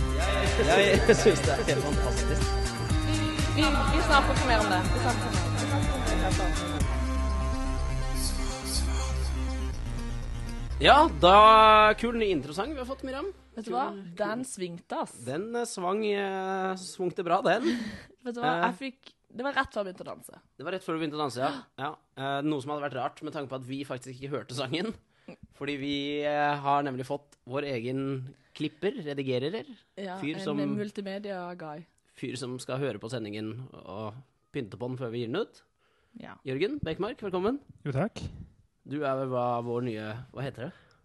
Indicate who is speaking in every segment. Speaker 1: Ja, jeg syns det er helt fantastisk.
Speaker 2: Vi, vi snakker ikke mer om det. Vi snakker ikke mer om det.
Speaker 1: Ja, da Kul, ny interessant vi har fått, Miriam.
Speaker 3: Vet du hva? Den svingte, ass.
Speaker 1: Den eh, svang eh, svungte bra, den.
Speaker 3: Vet du hva?
Speaker 1: Eh.
Speaker 3: Jeg fikk Det var rett før jeg begynte å danse.
Speaker 1: Det var rett før du begynte å danse, ja. ja. Eh, noe som hadde vært rart, med tanke på at vi faktisk ikke hørte sangen. Fordi vi eh, har nemlig fått vår egen klipper, redigerer,
Speaker 3: Ja,
Speaker 1: Fyr
Speaker 3: en
Speaker 1: som-
Speaker 3: multimedia-guy.
Speaker 1: fyr som skal høre på sendingen og pynte på den før vi gir den ut.
Speaker 3: Ja.
Speaker 1: Jørgen Bekmark, velkommen.
Speaker 4: Jo, takk.
Speaker 1: Du er vel hva vår nye Hva heter det?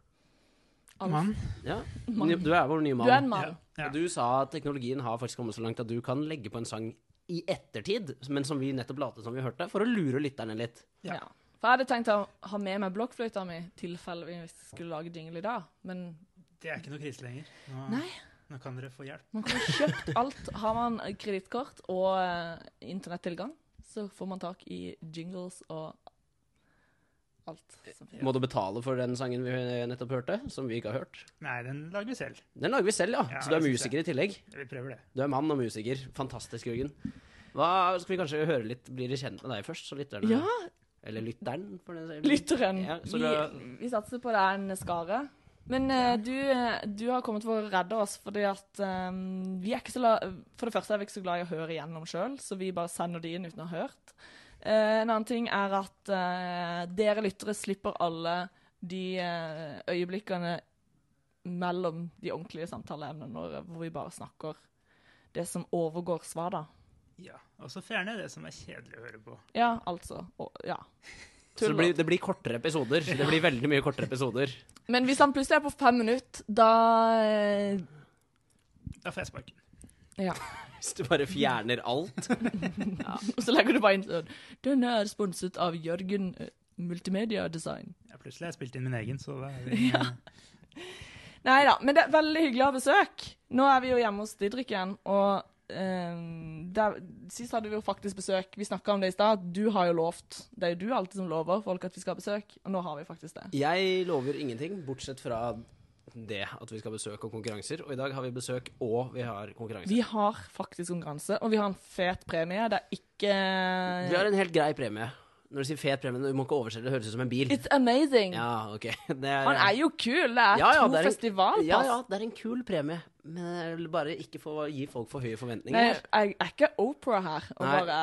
Speaker 3: Alf.
Speaker 4: Mann.
Speaker 1: Ja,
Speaker 3: Mann.
Speaker 1: Du er vår nye
Speaker 3: Du er en
Speaker 1: mann.
Speaker 3: mann.
Speaker 4: Ja.
Speaker 1: Og du sa at teknologien har faktisk kommet så langt at du kan legge på en sang i ettertid, men som vi nettopp latet som vi hørte, for å lure lytterne litt.
Speaker 3: Ja.
Speaker 4: Ja.
Speaker 3: For jeg hadde tenkt å ha med meg blokkfløyta mi, tilfelle vi skulle lage jingle i dag. Men
Speaker 4: Det er ikke noe krise lenger. Nå,
Speaker 3: Nei.
Speaker 4: nå kan dere få hjelp.
Speaker 3: man kan jo kjøpt alt. Har man kredittkort og eh, internettilgang, så får man tak i jingles og alt. som finnes.
Speaker 1: Må du betale for den sangen vi nettopp hørte, som vi ikke har hørt?
Speaker 4: Nei, den lager vi selv.
Speaker 1: Den lager vi selv, ja.
Speaker 4: Ja,
Speaker 1: Så du er
Speaker 4: jeg synes det.
Speaker 1: musiker i tillegg.
Speaker 4: Vi prøver det.
Speaker 1: Du er mann og musiker. Fantastisk, Jørgen. Hva skal vi kanskje høre litt, blir de kjent med deg først, så lytterne
Speaker 3: Ja,
Speaker 1: Eller lytteren, for den saks skyld.
Speaker 3: lytteren.
Speaker 1: Ja, så
Speaker 3: vi,
Speaker 1: du-
Speaker 3: vi satser på det er en skare. Men eh, du, eh, du har kommet for å redde oss, fordi at eh, vi er ikke så la For det første er vi ikke så glad i å høre igjennom sjøl, så vi bare sender de inn uten å ha hørt. Eh, en annen ting er at eh, dere lyttere slipper alle de eh, øyeblikkene mellom de ordentlige samtaleemnene våre, hvor vi bare snakker det som overgår svar, da.
Speaker 4: Ja. Og så fjerne det som er kjedelig å høre på.
Speaker 3: Ja, altså. Og, ja.
Speaker 1: Så det blir, det blir kortere episoder. Det blir veldig mye kortere episoder.
Speaker 3: Men hvis han plutselig er på fem minutter, da eh,
Speaker 4: Da får jeg sparken.
Speaker 3: Ja.
Speaker 1: Hvis du bare fjerner alt.
Speaker 3: Og så legger du bare inn sånn Den er sponset av Jørgen eh, Multimedia Design.
Speaker 4: Ja, plutselig har jeg spilt inn min egen, så da er vi ja.
Speaker 3: Nei da, men det er veldig hyggelig å ha besøk. Nå er vi jo hjemme hos Didrik igjen, og eh, der, sist hadde vi jo faktisk besøk. Vi snakka om det i stad. Du har jo lovt. Det er jo du alltid som lover folk at vi skal ha besøk, og nå har vi faktisk det.
Speaker 1: Jeg lover ingenting, bortsett fra det at vi skal ha besøk og konkurranser. Og i dag har vi besøk, og vi har konkurranser.
Speaker 3: Vi har faktisk konkurranse, og vi har en fet premie. Det er ikke
Speaker 1: Vi har en helt grei premie. Når du sier fet premie, du må ikke oversette det, høres ut som en bil.
Speaker 3: It's amazing!
Speaker 1: Ja, ok. Det
Speaker 3: Han er jo kul! Det er
Speaker 1: Ja, ja,
Speaker 3: to
Speaker 1: det er en-
Speaker 3: festivalpass.
Speaker 1: Ja, ja, det er en kul premie, men jeg vil bare ikke få gi folk for høye forventninger.
Speaker 3: Nei, jeg er ikke Opera her. Og
Speaker 1: Nei.
Speaker 3: bare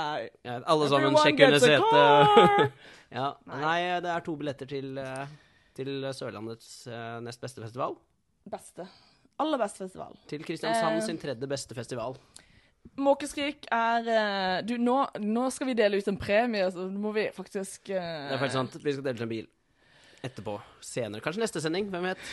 Speaker 1: Ja, alle sammen,
Speaker 3: Everyone
Speaker 1: sjekk under
Speaker 3: gets a car!
Speaker 1: setet. ja.
Speaker 3: Nei.
Speaker 1: Nei, det er to billetter til, eh, til Sørlandets eh, nest beste festival.
Speaker 3: Beste. Aller beste festival.
Speaker 1: Til Kristiansand
Speaker 3: Eh.
Speaker 1: sin tredje beste festival.
Speaker 3: Måkeskrik er eh, Du, nå, nå skal vi dele ut en premie, så nå må vi faktisk eh,
Speaker 1: Det er faktisk sant. Vi skal dele til en bil. Etterpå. Senere. Kanskje neste sending. Hvem vet.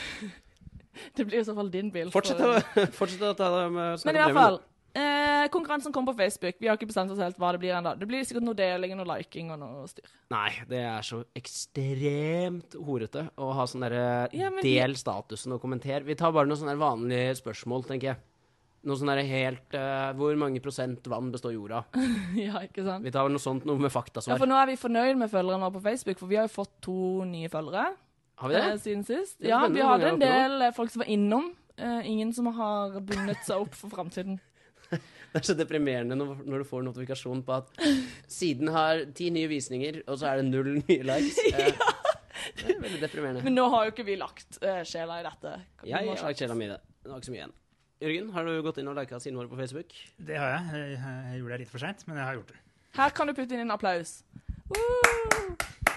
Speaker 3: Det blir i så fall din bil.
Speaker 1: Fortsett å,
Speaker 3: for-
Speaker 1: fortsett å ta dem eh, snakke
Speaker 3: Men i hvert
Speaker 1: premien.
Speaker 3: fall. Eh, konkurransen kommer på Facebook. Vi har ikke bestemt oss helt hva det blir ennå. Det blir sikkert noe deling og noe liking og noe styr.
Speaker 1: Nei, det er så ekstremt horete å ha sånn derre
Speaker 3: Ja, men vi-
Speaker 1: Del statusen og kommenter. Vi tar bare noen sånne der vanlige spørsmål, tenker jeg. Noe sånn derre helt eh, Hvor mange prosent vann består jorda?
Speaker 3: ja, ikke sant?
Speaker 1: Vi tar noe sånt, noe med
Speaker 3: Ja,
Speaker 1: faktasvar.
Speaker 3: for nå er vi fornøyd med følgerne våre på Facebook, for vi har jo fått to nye følgere.
Speaker 1: Har vi det?
Speaker 3: eh, siden sist.
Speaker 1: er
Speaker 3: Ja,
Speaker 1: spennende
Speaker 3: vi
Speaker 1: hvor
Speaker 3: hadde en
Speaker 1: mange det er
Speaker 3: del eh, folk som var innom. Eh, ingen som har bundet seg opp for framtiden.
Speaker 1: Det er så deprimerende når, når du får notifikasjon på at siden har ti nye visninger, og så er det null nye likes. Eh, Det er veldig deprimerende.
Speaker 3: Men nå har jo ikke vi lagt eh, sjela i dette. Vi
Speaker 1: Jeg
Speaker 3: må
Speaker 1: har lagt sjela mi i det. Det var ikke så mye igjen. Jørgen, har du gått inn og lika sidene våre på Facebook?
Speaker 4: Det har jeg. Jeg, jeg gjorde det litt for seint, men jeg har gjort det.
Speaker 3: Her kan du putte inn en applaus. Woo!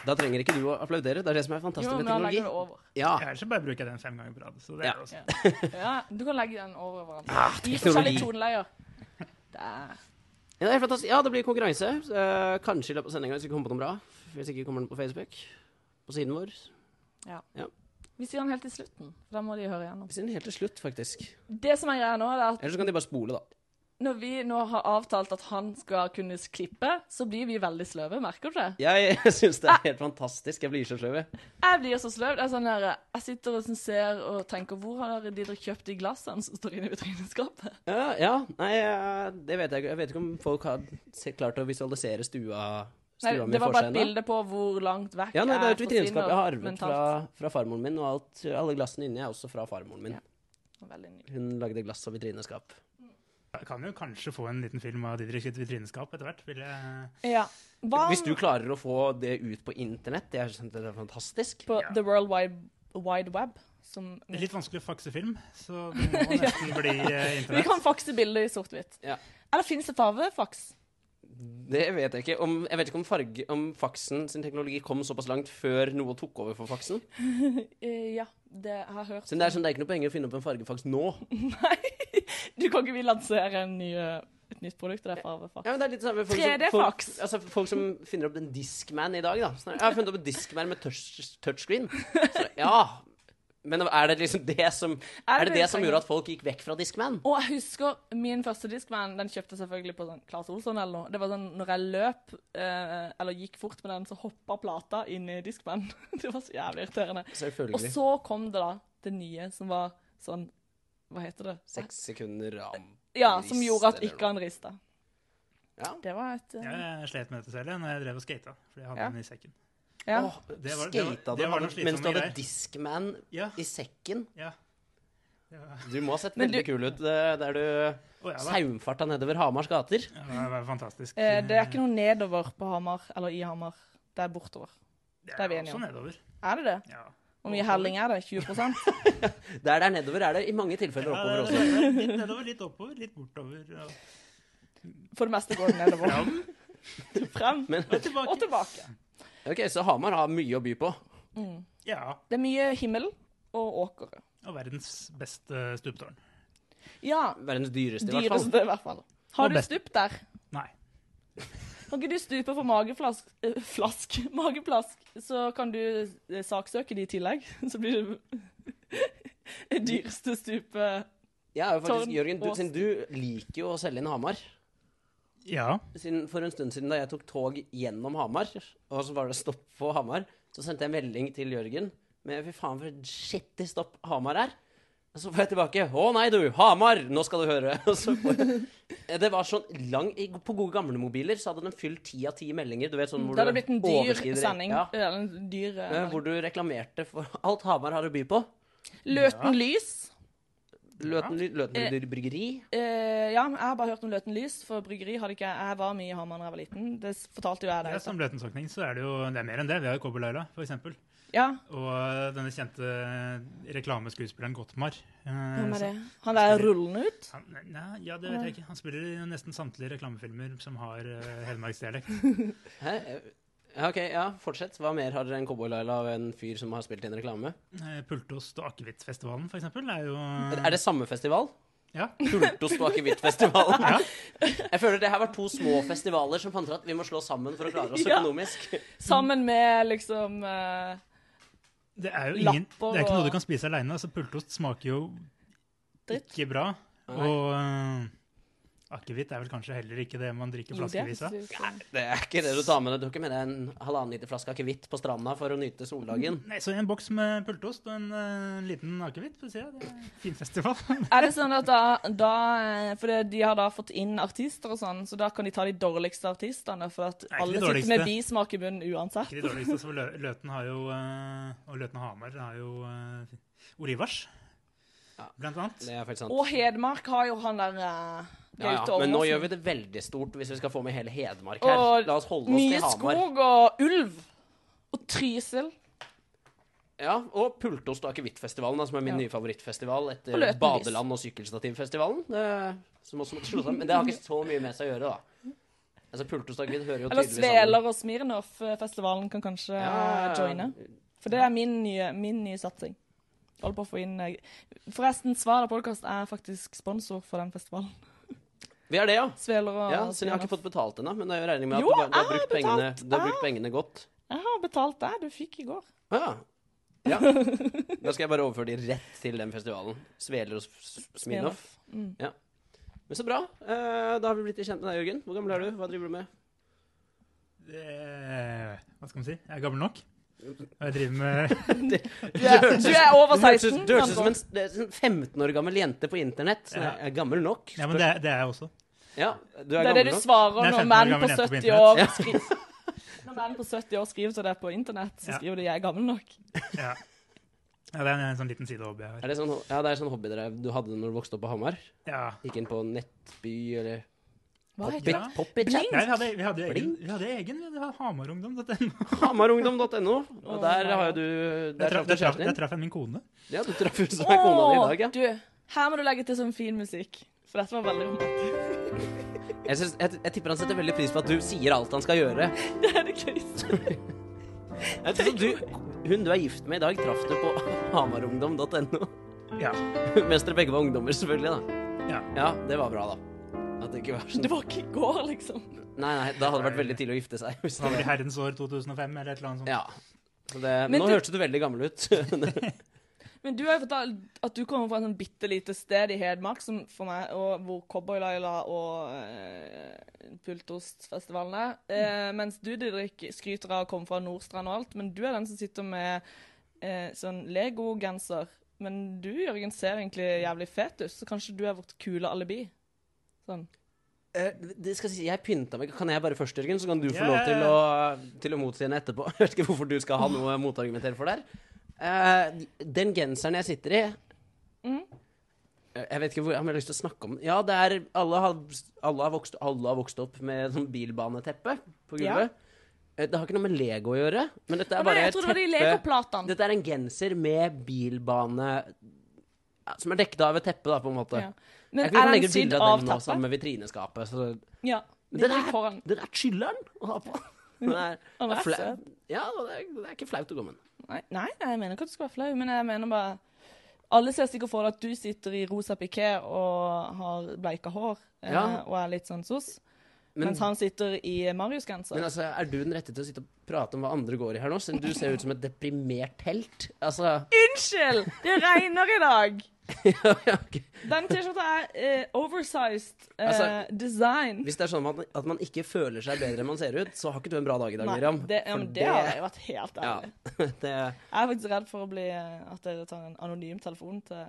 Speaker 1: Da trenger ikke du å applaudere. Det er det som er
Speaker 3: Jo,
Speaker 1: fantastisk
Speaker 3: men
Speaker 1: med
Speaker 3: da legger du det
Speaker 1: teknologi.
Speaker 3: over.
Speaker 1: Ja,
Speaker 4: Ja, Ellers så bare bruker jeg den fem ganger på rad. Så det
Speaker 1: Ja.
Speaker 4: er også.
Speaker 3: Ja, du kan legge den over hverandre.
Speaker 1: Ah,
Speaker 3: I
Speaker 1: teknologi.
Speaker 3: forskjellige toneleier. Der.
Speaker 1: ja, det er fantastisk. Ja, det blir konkurranse. Eh, kanskje i løpet av sendinga hvis vi kommer på noe bra. Hvis ikke kommer den på Facebook. På siden vår.
Speaker 3: Vi sier den helt til slutten. for Da må de høre igjennom.
Speaker 1: Vi sier den helt til slutt, faktisk.
Speaker 3: Det som er greia nå, det er at
Speaker 1: Eller så kan de bare spole, da.
Speaker 3: når vi nå har avtalt at han skal kunne klippe, så blir vi veldig sløve. Merker du det?
Speaker 1: Jeg syns det er helt fantastisk. Jeg blir så sløv, jeg.
Speaker 3: Jeg blir så sløv. Det er sånn der, jeg sitter og sånn ser og tenker Hvor har Didrik kjøpt de glassene som står inne i vitrineskapet?
Speaker 1: Ja, ja. Nei, eh, det vet jeg ikke. Jeg vet ikke om folk har se- klart å visualisere stua,
Speaker 3: Nei,
Speaker 1: stua mi
Speaker 3: det var
Speaker 1: for
Speaker 3: bare
Speaker 1: seg
Speaker 3: et
Speaker 1: ennå.
Speaker 3: bilde på hvor langt vekk
Speaker 1: Ja, nei, det er et
Speaker 3: jeg
Speaker 1: vitrineskap jeg har arvet
Speaker 3: mentalt.
Speaker 1: fra, fra farmoren min, og alt, alle glassene inni er også fra farmoren min.
Speaker 3: Veldig nydelig.
Speaker 1: Hun lagde glass og vitrineskap.
Speaker 4: ka- kan jo kanskje få en liten film av Didrik sitt vitrineskap etter hvert. Vil jeg...
Speaker 3: Ja. Hva
Speaker 1: Hvis du klarer å få det ut på internett, det er, det er fantastisk.
Speaker 3: på
Speaker 4: Ja.
Speaker 3: The World Wide, Wide Web? Som
Speaker 4: Det er litt vanskelig å fakse film, så det må nesten bli eh,
Speaker 3: Vi kan
Speaker 4: internett.
Speaker 3: fakse bilder i sort-hvitt.
Speaker 1: Ja.
Speaker 3: Eller fins det farvefaks?
Speaker 1: Det vet jeg ikke. Om, jeg vet ikke om, farge, om faksen sin teknologi kom såpass langt før noe tok over for faksen.
Speaker 3: Eh, ja, det jeg har jeg hørt.
Speaker 1: Så det er, sånn, det er ikke noe poeng i å finne opp en fargefaks nå.
Speaker 3: Du kan ikke vi lansere en ny, eh, et nytt produkt, og det er farvefaks.
Speaker 1: Ja, men det er litt samme folk, som,
Speaker 3: 3D-faks.
Speaker 1: folk, altså, folk som finner opp en Discman i dag, da. Sånn, jeg har funnet opp en Discman med touch, touchscreen. Så, ja, men er det liksom det som Er det det som gjorde at folk gikk vekk fra Discman?
Speaker 3: Og jeg husker min første Discman, den kjøpte jeg selvfølgelig på sånn Claes Olsson eller noe. Det var sånn, når jeg løp, eh, eller gikk fort med den, så hoppa plata inn i Discman. Det var så jævlig irriterende. Og
Speaker 1: Selvfølgelig.
Speaker 3: så kom det da det nye, som var sånn Hva heter det?
Speaker 1: Seks sekunder ram.
Speaker 3: Ja, som gjorde at
Speaker 1: Rist, eller
Speaker 3: ikke han rista.
Speaker 1: Ja.
Speaker 3: Det var et eh,
Speaker 4: Jeg slet med dette selv jeg, når jeg drev og skata, fordi jeg hadde
Speaker 3: Ja.
Speaker 4: den i sekken.
Speaker 3: ja.
Speaker 1: Åh,
Speaker 4: Det var- det var-
Speaker 1: skata du
Speaker 4: det var noen
Speaker 1: hadde- mens du
Speaker 4: slitsomme
Speaker 1: hadde
Speaker 4: greier.
Speaker 1: Discman
Speaker 4: Ja,
Speaker 1: i sekken?
Speaker 4: ja. Det var-
Speaker 1: Du må ha sett
Speaker 3: Men
Speaker 1: veldig
Speaker 3: du-
Speaker 1: kul ut eh, der du
Speaker 4: Å, ja, da.
Speaker 1: saumfarta nedover Hamars gater.
Speaker 4: Ja, det var fantastisk.
Speaker 3: Eh, Det er ikke noe nedover på Hamar, eller i Hamar. Det er bortover. det er vi enige om.
Speaker 4: Også nedover.
Speaker 3: Er det det?
Speaker 4: Ja.
Speaker 3: Hvor mye helling er det? 20
Speaker 1: Der der nedover er det i mange tilfeller oppover
Speaker 4: Ja,
Speaker 1: også.
Speaker 4: det er- Litt nedover, litt oppover, litt bortover. Og,
Speaker 3: For det meste går det nedover.
Speaker 4: Fram.
Speaker 3: Frem
Speaker 1: Men
Speaker 4: og
Speaker 3: og
Speaker 4: tilbake.
Speaker 3: tilbake.
Speaker 1: ok, så Hamar har mye å by på.
Speaker 4: Ja.
Speaker 3: Det er mye himmel og åkere.
Speaker 4: Og verdens beste stuptårn.
Speaker 3: Ja,
Speaker 1: Verdens dyreste, i hvert fall.
Speaker 3: dyreste i hvert fall. Har
Speaker 4: Og
Speaker 3: du
Speaker 4: best.
Speaker 3: stup der?
Speaker 4: Nei.
Speaker 3: Kan ikke du stupe for mageflask, eh, flask, mageplask, så kan du eh, saksøke de i tillegg? Så blir det dyreste stupet
Speaker 1: Jeg er jo faktisk,
Speaker 3: Tårn
Speaker 1: Jørgen, du,
Speaker 3: og
Speaker 1: siden du liker jo å selge inn Hamar.
Speaker 4: Ja.
Speaker 1: Siden, for en stund siden da jeg tok tog gjennom Hamar, og så var det stopp på Hamar, så sendte jeg en melding til Jørgen med fy faen for et skittig stopp Hamar er. Og så får jeg tilbake Å nei, du, Hamar! Nå skal du høre. Og så får jeg, det var sånn lang i- På gode gamle mobiler så hadde den fylt ti av ti meldinger. Du vet sånn hvor
Speaker 3: Mm, Da hadde det
Speaker 1: du
Speaker 3: blitt en dyr
Speaker 1: overskrider-
Speaker 3: sending.
Speaker 1: Ja,
Speaker 3: Eller en dyr eh,
Speaker 1: eh, hvor du reklamerte for alt Hamar har å by på.
Speaker 3: Løten lys.
Speaker 1: Løten, Løten bryggeri.
Speaker 3: Eh, ja, jeg har bare hørt om Løten lys, for bryggeri hadde ikke jeg var mye i Hamar da jeg var liten. Det s- fortalte jo jeg
Speaker 4: Ja,
Speaker 3: deg.
Speaker 4: som løtensokning så er det jo det er mer enn det. Vi har jo Kobberlaila, for eksempel.
Speaker 3: Ja,
Speaker 4: Og denne kjente reklameskuespilleren Gottmar. eh,
Speaker 3: hvem er det?
Speaker 4: som-
Speaker 3: Han der rullende ut?
Speaker 4: Han, nei, ja, det vet jeg ikke. Han spiller i nesten samtlige reklamefilmer som har eh, hedmarksdialekt.
Speaker 1: Hæ? Ja, ok, ja, fortsett. Hva mer har dere enn Cowboy-Laila og en fyr som har spilt i en reklame?
Speaker 4: Eh, Pultost og Akevittfestivalen, for eksempel, er jo
Speaker 1: Er det samme festival?
Speaker 4: Ja.
Speaker 1: Pultost og akevittfestivalen. Jeg føler det her var to små festivaler som fant ut at vi må slå sammen for å klare oss
Speaker 3: Ja.
Speaker 1: økonomisk.
Speaker 3: Sammen med liksom eh,
Speaker 4: Det er jo ingen,
Speaker 3: Lapper
Speaker 4: det er ikke
Speaker 3: og-
Speaker 4: noe du kan spise aleine. Altså, pultost smaker jo
Speaker 3: Dritt.
Speaker 4: ikke bra.
Speaker 1: Nei.
Speaker 4: Og eh, akevitt er vel kanskje heller ikke det man drikker
Speaker 3: Jo, det er
Speaker 4: flaskevis av.
Speaker 3: faktisk litt-
Speaker 1: Det er ikke det du tar med deg. Du har ikke med deg en halvannen liter flaske akevitt på stranda for å nyte soldagen.
Speaker 4: Nei, så en boks med pultost og en eh, liten akevitt, for å si det. Det er en fin festival.
Speaker 3: Er det sånn at da, da eh, For det, de har da fått inn artister og sånn, så da kan de ta de dårligste artistene, for at
Speaker 4: ikke
Speaker 3: alle
Speaker 4: de
Speaker 3: sitter med
Speaker 4: dårligste.
Speaker 3: bismak i munnen uansett.
Speaker 4: Ikke de dårligste, så Lø- Løten har jo eh, Og Løten og Hamar har jo eh, Olivars,
Speaker 1: Ja.
Speaker 4: blant annet.
Speaker 1: Det er faktisk sant.
Speaker 3: Og Hedmark har jo han der eh,
Speaker 1: Ja, ja.
Speaker 3: Gaute Ormåsen.
Speaker 1: Men nå gjør vi det veldig stort hvis vi skal få med hele Hedmark
Speaker 3: Og
Speaker 1: her. La oss holde oss
Speaker 3: Mye
Speaker 1: til Hamar.
Speaker 3: skog og ulv. Og Trysil.
Speaker 1: Ja, Og Pultost og akevittfestivalen, da, som er min
Speaker 3: Ja.
Speaker 1: nye favorittfestival
Speaker 3: Og
Speaker 1: etter
Speaker 3: Løten Lys.
Speaker 1: Badeland og Sykkelstativfestivalen. eh, Som også måtte slå sammen. Men det har ikke så mye med seg å gjøre, da. Altså, Pultost og akevitt hører jo
Speaker 3: Eller
Speaker 1: tydeligvis sammen.
Speaker 3: Sveler og Smirnov-festivalen kan kanskje eh, joine. For det er min nye, min nye satsing. Holder på å få inn eh, Forresten, Svada podkast er faktisk sponsor for den festivalen.
Speaker 1: Vi er det, ja.
Speaker 3: Sveler og
Speaker 1: Ja, siden jeg har
Speaker 3: Smirnoff.
Speaker 1: ikke fått betalt ennå, men jeg regner med at
Speaker 3: Jo,
Speaker 1: du, bare- du, har
Speaker 3: jeg
Speaker 1: brukt
Speaker 3: har
Speaker 1: pengene,
Speaker 3: betalt.
Speaker 1: du har brukt pengene godt.
Speaker 3: Jeg har betalt deg. Du fikk i går.
Speaker 1: Å Ja. ja. Da skal jeg bare overføre de rett til den festivalen. Sveler og S- Smirnoff.
Speaker 3: Mm.
Speaker 1: Men så bra. Eh, Da har vi blitt kjent med deg, Jørgen. Hvor gammel er du? Hva driver du med?
Speaker 4: Det- Hva skal man si? Jeg er gammel nok. Og jeg driver med
Speaker 3: Du, er, du er over
Speaker 1: Det høres
Speaker 3: 16.
Speaker 1: ut det høres ut som
Speaker 3: Sandra.
Speaker 1: en det er en 15 år gammel jente på internett. Så
Speaker 4: Ja.
Speaker 1: jeg er gammel nok.
Speaker 4: Ja, men det er, det er jeg også.
Speaker 1: Ja, du er
Speaker 3: det er det
Speaker 1: gammel nok.
Speaker 3: du
Speaker 4: Det er
Speaker 3: svarer når
Speaker 4: 15 år
Speaker 3: menn på
Speaker 4: gammel jente på
Speaker 3: 70 år skriver Når menn på 70 år skriver til deg på internett, så
Speaker 4: Ja.
Speaker 3: skriver de 'jeg er gammel nok'.
Speaker 4: Ja. Ja, det er en sånn liten sidehobby jeg har.
Speaker 1: Er det sånn, ja, det er sånn hobbydrev du hadde når du vokste opp på Hamar?
Speaker 4: Ja.
Speaker 1: Gikk inn på Nettby eller
Speaker 3: Hva heter
Speaker 1: Poppit?
Speaker 4: det?
Speaker 1: Poppit
Speaker 4: Nei, vi hadde, vi hadde egen, vi hadde egen vi hadde Hamarungdom. dette-
Speaker 1: Hamarungdom.no. Og
Speaker 3: Å,
Speaker 1: der har jo
Speaker 3: herregud.
Speaker 1: du
Speaker 4: Der
Speaker 1: Der traff
Speaker 4: traff
Speaker 1: du
Speaker 4: der traff-
Speaker 1: kjæresten
Speaker 4: der
Speaker 1: din.
Speaker 4: traff jeg min kone.
Speaker 1: Ja, du traff hun som er kona di i dag, ja.
Speaker 3: Du, her må du legge til sånn fin musikk. For dette var veldig romantisk.
Speaker 1: Jeg, synes, jeg, jeg tipper han setter veldig pris på at du sier alt han skal gjøre.
Speaker 3: Det er det gøyeste.
Speaker 1: Jeg tror du, hun du er gift med i dag, traff du på hamarungdom.no.
Speaker 4: Ja.
Speaker 1: Mens dere begge var ungdommer, selvfølgelig. da.
Speaker 4: Ja.
Speaker 1: det var bra, da. At det ikke var sånn
Speaker 3: Det var ikke i går, liksom.
Speaker 1: Nei, nei, da hadde det vært veldig tidlig å gifte seg. Hvis
Speaker 4: Det var vel i
Speaker 1: det...
Speaker 4: herrens år 2005 eller et eller annet sånt.
Speaker 1: Ja. Så det...
Speaker 3: Men
Speaker 1: Nå
Speaker 3: du-
Speaker 1: hørtes du veldig gammel ut.
Speaker 3: Men du har jo fortalt at du kommer fra et sånn bitte lite sted i Hedmark som for meg, og hvor Cowboylaila og eh, Pultostfestivalen er. Eh, mens du Didrik, skryter av å komme fra Nordstrand og alt, men du er den som sitter med eh, sånn Lego-genser. Men du, Jørgen, ser egentlig jævlig fet ut, så kanskje du er vårt kule alibi. Sånn.
Speaker 1: Eh, det skal si, jeg pynta meg. Kan jeg bare først, Jørgen? Så kan du få
Speaker 4: Ja,
Speaker 1: lov
Speaker 4: ja,
Speaker 1: til å,
Speaker 4: ja.
Speaker 1: til å motsi henne etterpå. Jeg vet ikke hvorfor du skal ha noe å motargumentere for der. Eh, den genseren jeg sitter i
Speaker 3: Mhm.
Speaker 1: Eh, Jeg vet ikke hvor, om jeg har lyst til å snakke om den. Ja, det er Alle har, alle har, vokst, alle har vokst opp med sånn bilbaneteppe på
Speaker 3: Ja.
Speaker 1: gulvet. Eh, Det har ikke noe med Lego å gjøre, men dette
Speaker 3: Å
Speaker 1: er
Speaker 3: Nei,
Speaker 1: bare
Speaker 3: jeg
Speaker 1: et
Speaker 3: trodde det var de
Speaker 1: teppe-
Speaker 3: Lego-platene.
Speaker 1: Dette er en genser med bilbane ja, Som er dekket av et teppe, da, på en måte.
Speaker 3: Ja.
Speaker 1: Jeg
Speaker 3: Men
Speaker 1: kan
Speaker 3: er
Speaker 1: legge
Speaker 3: den
Speaker 1: ut
Speaker 3: sydd
Speaker 1: bilde av den
Speaker 3: av
Speaker 1: nå, sammen
Speaker 3: teppet?
Speaker 1: med vitrineskapet. Så
Speaker 3: Ja.
Speaker 1: Men den
Speaker 3: Den
Speaker 1: er-
Speaker 3: er foran.
Speaker 1: det er chiller'n å ha på. Den er,
Speaker 3: Den
Speaker 1: det
Speaker 3: er
Speaker 1: er flau.
Speaker 3: søt.
Speaker 1: Ja, det er, det er ikke flaut å gå med den.
Speaker 3: Nei, nei, nei, jeg mener ikke at du skal være flau, men jeg mener bare Alle ser sikkert for deg at du sitter i rosa piké og har bleika hår eh,
Speaker 1: Ja.
Speaker 3: og er litt sånn sos,
Speaker 1: Men,
Speaker 3: mens han sitter i
Speaker 1: men
Speaker 3: Marius-genser.
Speaker 1: altså, er du den rette til å sitte og prate om hva andre går i her nå? Siden du ser ut som et deprimert helt. Altså
Speaker 3: Unnskyld! Det regner i dag!
Speaker 1: ja, ja, ok.
Speaker 3: Den T-skjorta er eh, oversized eh,
Speaker 1: Altså,
Speaker 3: design.
Speaker 1: Hvis det er sånn at man, at man ikke føler seg bedre enn man ser ut, så har ikke du en bra dag i dag,
Speaker 3: Nei,
Speaker 1: Miriam.
Speaker 3: det, ja,
Speaker 1: For
Speaker 3: men det har jeg vært helt
Speaker 1: ja,
Speaker 3: ærlig.
Speaker 1: det,
Speaker 3: Jeg er faktisk redd for å bli eh, at dere tar en anonym telefon til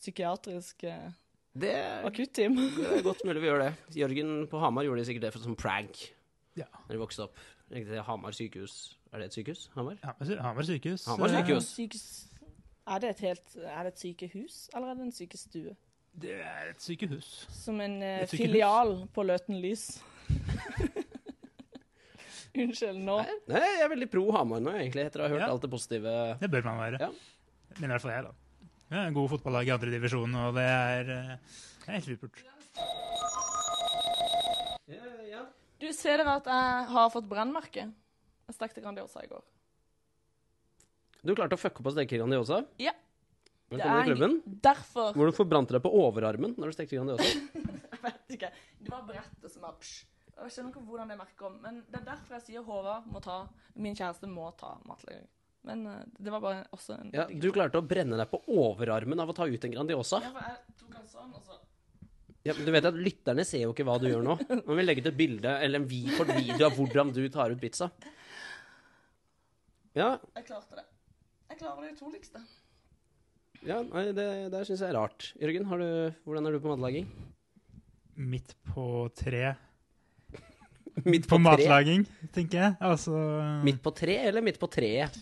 Speaker 3: psykiatrisk eh,
Speaker 1: det,
Speaker 3: akutteam.
Speaker 1: det er godt mulig vi gjør det. Jørgen på Hamar gjorde sikkert det for som prank
Speaker 4: Ja.
Speaker 1: da de vokste opp. Gikk til Hamar sykehus. Er det et sykehus? Hamar?
Speaker 4: Hamar sy- Hamar sykehus.
Speaker 1: Hamar
Speaker 4: eh,
Speaker 1: sykehus.
Speaker 3: Sykehus. Er det et helt Er det et sykehus, eller er det en sykestue?
Speaker 4: Eh, Det er et sykehus.
Speaker 3: Som en eh,
Speaker 4: Et sykehus.
Speaker 3: filial på Løten Lys. Unnskyld, nå
Speaker 1: Nei, nei, jeg er veldig pro Hamar nå, egentlig, etter å ha hørt
Speaker 4: Ja.
Speaker 1: alt det positive.
Speaker 4: Det bør man være.
Speaker 1: Ja.
Speaker 4: Men i hvert fall jeg, da. Vi har en god fotballag i andredivisjon, og det er, eh, det er helt supert.
Speaker 3: Du, ser dere at jeg har fått brennmerke? Jeg stekte Grandiosa i går.
Speaker 1: Du klarte å fucke opp og steke Grandiosa.
Speaker 3: Ja.
Speaker 1: Velkommen i
Speaker 3: Det er
Speaker 1: klubben.
Speaker 3: Derfor
Speaker 1: Hvor du forbrant deg på overarmen når du stekte Grandiosa.
Speaker 3: Jeg vet ikke. Det var brettet som var psj. Og Jeg skjønner ikke hvordan det merker om, men det er derfor jeg sier Håvard må ta Min kjæreste må ta matlaging. Men eh, det var bare også en
Speaker 1: Ja, du klarte å brenne deg på overarmen av å ta ut en Grandiosa.
Speaker 3: Ja, for jeg tok han sånn, og så
Speaker 1: Ja, men du vet at Lytterne ser jo ikke hva du gjør nå. Men vi legger ut et bilde eller en vi- kort video av hvordan du tar ut pizza. Ja,
Speaker 3: Jeg klarte det. Jeg klarer det utroligste.
Speaker 1: ja nei, det, det syns jeg er rart. Jørgen, har du, hvordan er du på matlaging?
Speaker 4: Midt på tre.
Speaker 1: Midt
Speaker 4: På
Speaker 1: tre?
Speaker 4: matlaging, tenker jeg. Altså
Speaker 1: Midt på tre eller midt på treet?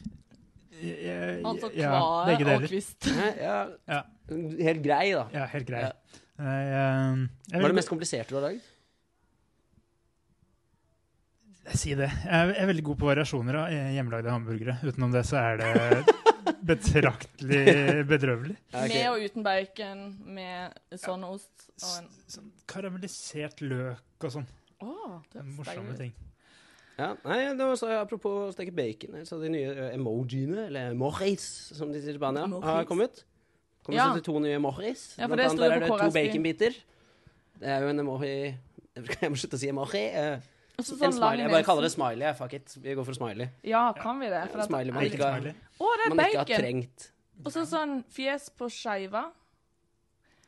Speaker 4: eh,
Speaker 3: Altså
Speaker 4: ja,
Speaker 3: kvae
Speaker 4: begge deler.
Speaker 3: og kvist.
Speaker 1: Hæ? Ja,
Speaker 4: Ja.
Speaker 1: Helt grei, da.
Speaker 4: Ja, helt grei.
Speaker 1: Ja.
Speaker 4: Nei, eh, jeg
Speaker 1: Hva er
Speaker 4: vil-
Speaker 1: det mest kompliserte du har lagd?
Speaker 4: Si det. Jeg er veldig god på variasjoner av eh, hjemmelagde hamburgere. Utenom det så er det betraktelig bedrøvelig.
Speaker 1: Ja, ok.
Speaker 3: Med og uten bacon, med sånn ost og en
Speaker 4: Sånn karamellisert løk og sånn.
Speaker 3: Åh, det høres deilig
Speaker 4: Morsomme
Speaker 3: ut.
Speaker 4: ting.
Speaker 1: Ja, nei, det var så, Apropos å steke bacon, så de nye eh, emojiene, eller mochis, som de sier i Spania,
Speaker 3: Mochis.
Speaker 1: har kommet. Kommer
Speaker 3: Ja.
Speaker 1: ja. 72 nye mochis.
Speaker 3: Ja, for
Speaker 1: Blant
Speaker 3: det
Speaker 1: annet
Speaker 3: sto jo
Speaker 1: der
Speaker 3: på
Speaker 1: er det to
Speaker 3: KRSB.
Speaker 1: baconbiter. Det er jo en emoji Jeg må slutte å si emoji. eh,
Speaker 3: Og så
Speaker 1: en
Speaker 3: sånn lang
Speaker 1: smiley. Jeg bare kaller det
Speaker 3: nese.
Speaker 1: smiley. jeg. Fuck it. Vi går for smiley.
Speaker 3: Ja, kan vi det? For at,
Speaker 1: Smiley man
Speaker 4: Veldig
Speaker 1: ikke har,
Speaker 4: smiley.
Speaker 3: å, det er
Speaker 1: man ikke har
Speaker 3: bacon!
Speaker 1: trengt.
Speaker 3: Og så sånn fjes på skeiva.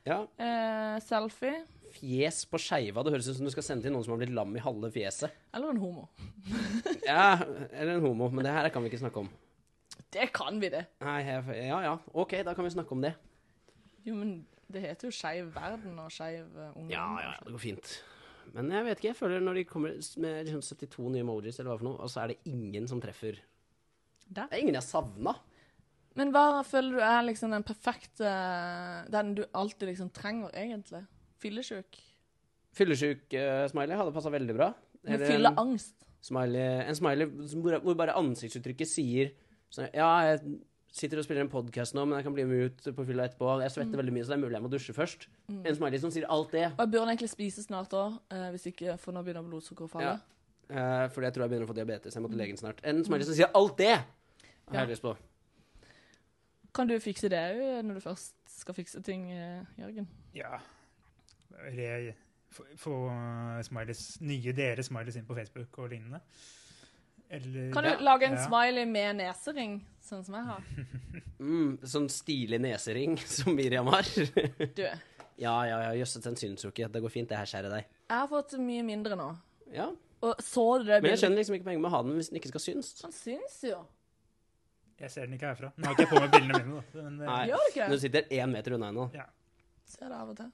Speaker 1: Ja,
Speaker 3: Eh, selfie.
Speaker 1: Fjes på skeiva. Det høres ut som du skal sende til noen som har blitt lam i halve fjeset.
Speaker 3: Eller en homo.
Speaker 1: Ja, Eller en homo. Men det her kan vi ikke snakke om.
Speaker 3: Det kan vi, det.
Speaker 1: Nei, jeg, ja ja. OK, da kan vi snakke om det.
Speaker 3: Jo, men det heter jo Skeiv verden og Skeiv eh, ungdom.
Speaker 1: Ja, ja, ja, det går fint. Men jeg vet ikke, jeg føler når de kommer s- med liksom 72 nye emojis, eller hva for noe, og så er det ingen som treffer.
Speaker 3: Der.
Speaker 1: Det er ingen jeg savna.
Speaker 3: Men hva føler du er liksom den perfekte eh, Den du alltid liksom trenger, egentlig? Fyllesjuk?
Speaker 1: Fyllesyk-smiley eh, hadde passa veldig bra.
Speaker 3: Med
Speaker 1: Eller en
Speaker 3: fylleangst?
Speaker 1: smiley, en smiley som- hvor, hvor bare ansiktsuttrykket sier sånn, Ja, jeg sitter og spiller en podkast nå, men jeg kan bli med ut på fylla etterpå. Jeg svetter veldig mye, så det er mulig jeg må dusje først.
Speaker 3: Mm.
Speaker 1: En smiley som sier alt det.
Speaker 3: Og jeg burde egentlig spise snart òg, eh, hvis ikke for nå begynner blodsukkeret å falle.
Speaker 1: Ja. Eh, fordi jeg tror jeg begynner å få diabetes. Jeg må til legen snart. En smiley som sier alt det! Har jeg
Speaker 3: Ja.
Speaker 1: lyst på.
Speaker 3: Kan du fikse det jo når du først skal fikse ting, eh, Jørgen?
Speaker 4: Ja. Re, få få eh, smileys, nye dere smileys inn på Facebook og lignende. Eller,
Speaker 3: Kan du
Speaker 4: Ja.
Speaker 3: lage en
Speaker 4: Ja.
Speaker 3: smiley med nesering, sånn som jeg har?
Speaker 1: Mm, sånn stilig nesering som Miriam har.
Speaker 3: Du, jeg
Speaker 1: ja, ja, ja, jøsset, den syns jo ikke. Det går fint, det her skjæret der.
Speaker 3: har fått mye mindre nå.
Speaker 1: Ja.
Speaker 3: Og så du
Speaker 1: Men jeg
Speaker 3: det bildet?
Speaker 1: skjønner liksom ikke poenget med å ha den hvis den ikke skal synes.
Speaker 3: Han syns jo.
Speaker 4: Jeg ser den ikke herfra. Nå har ikke jeg på meg brillene mine, da. Men, eh,
Speaker 1: Nei.
Speaker 3: Gjør det
Speaker 1: Når
Speaker 3: ikke?
Speaker 1: du sitter én meter unna henne.
Speaker 3: Ser det av og til.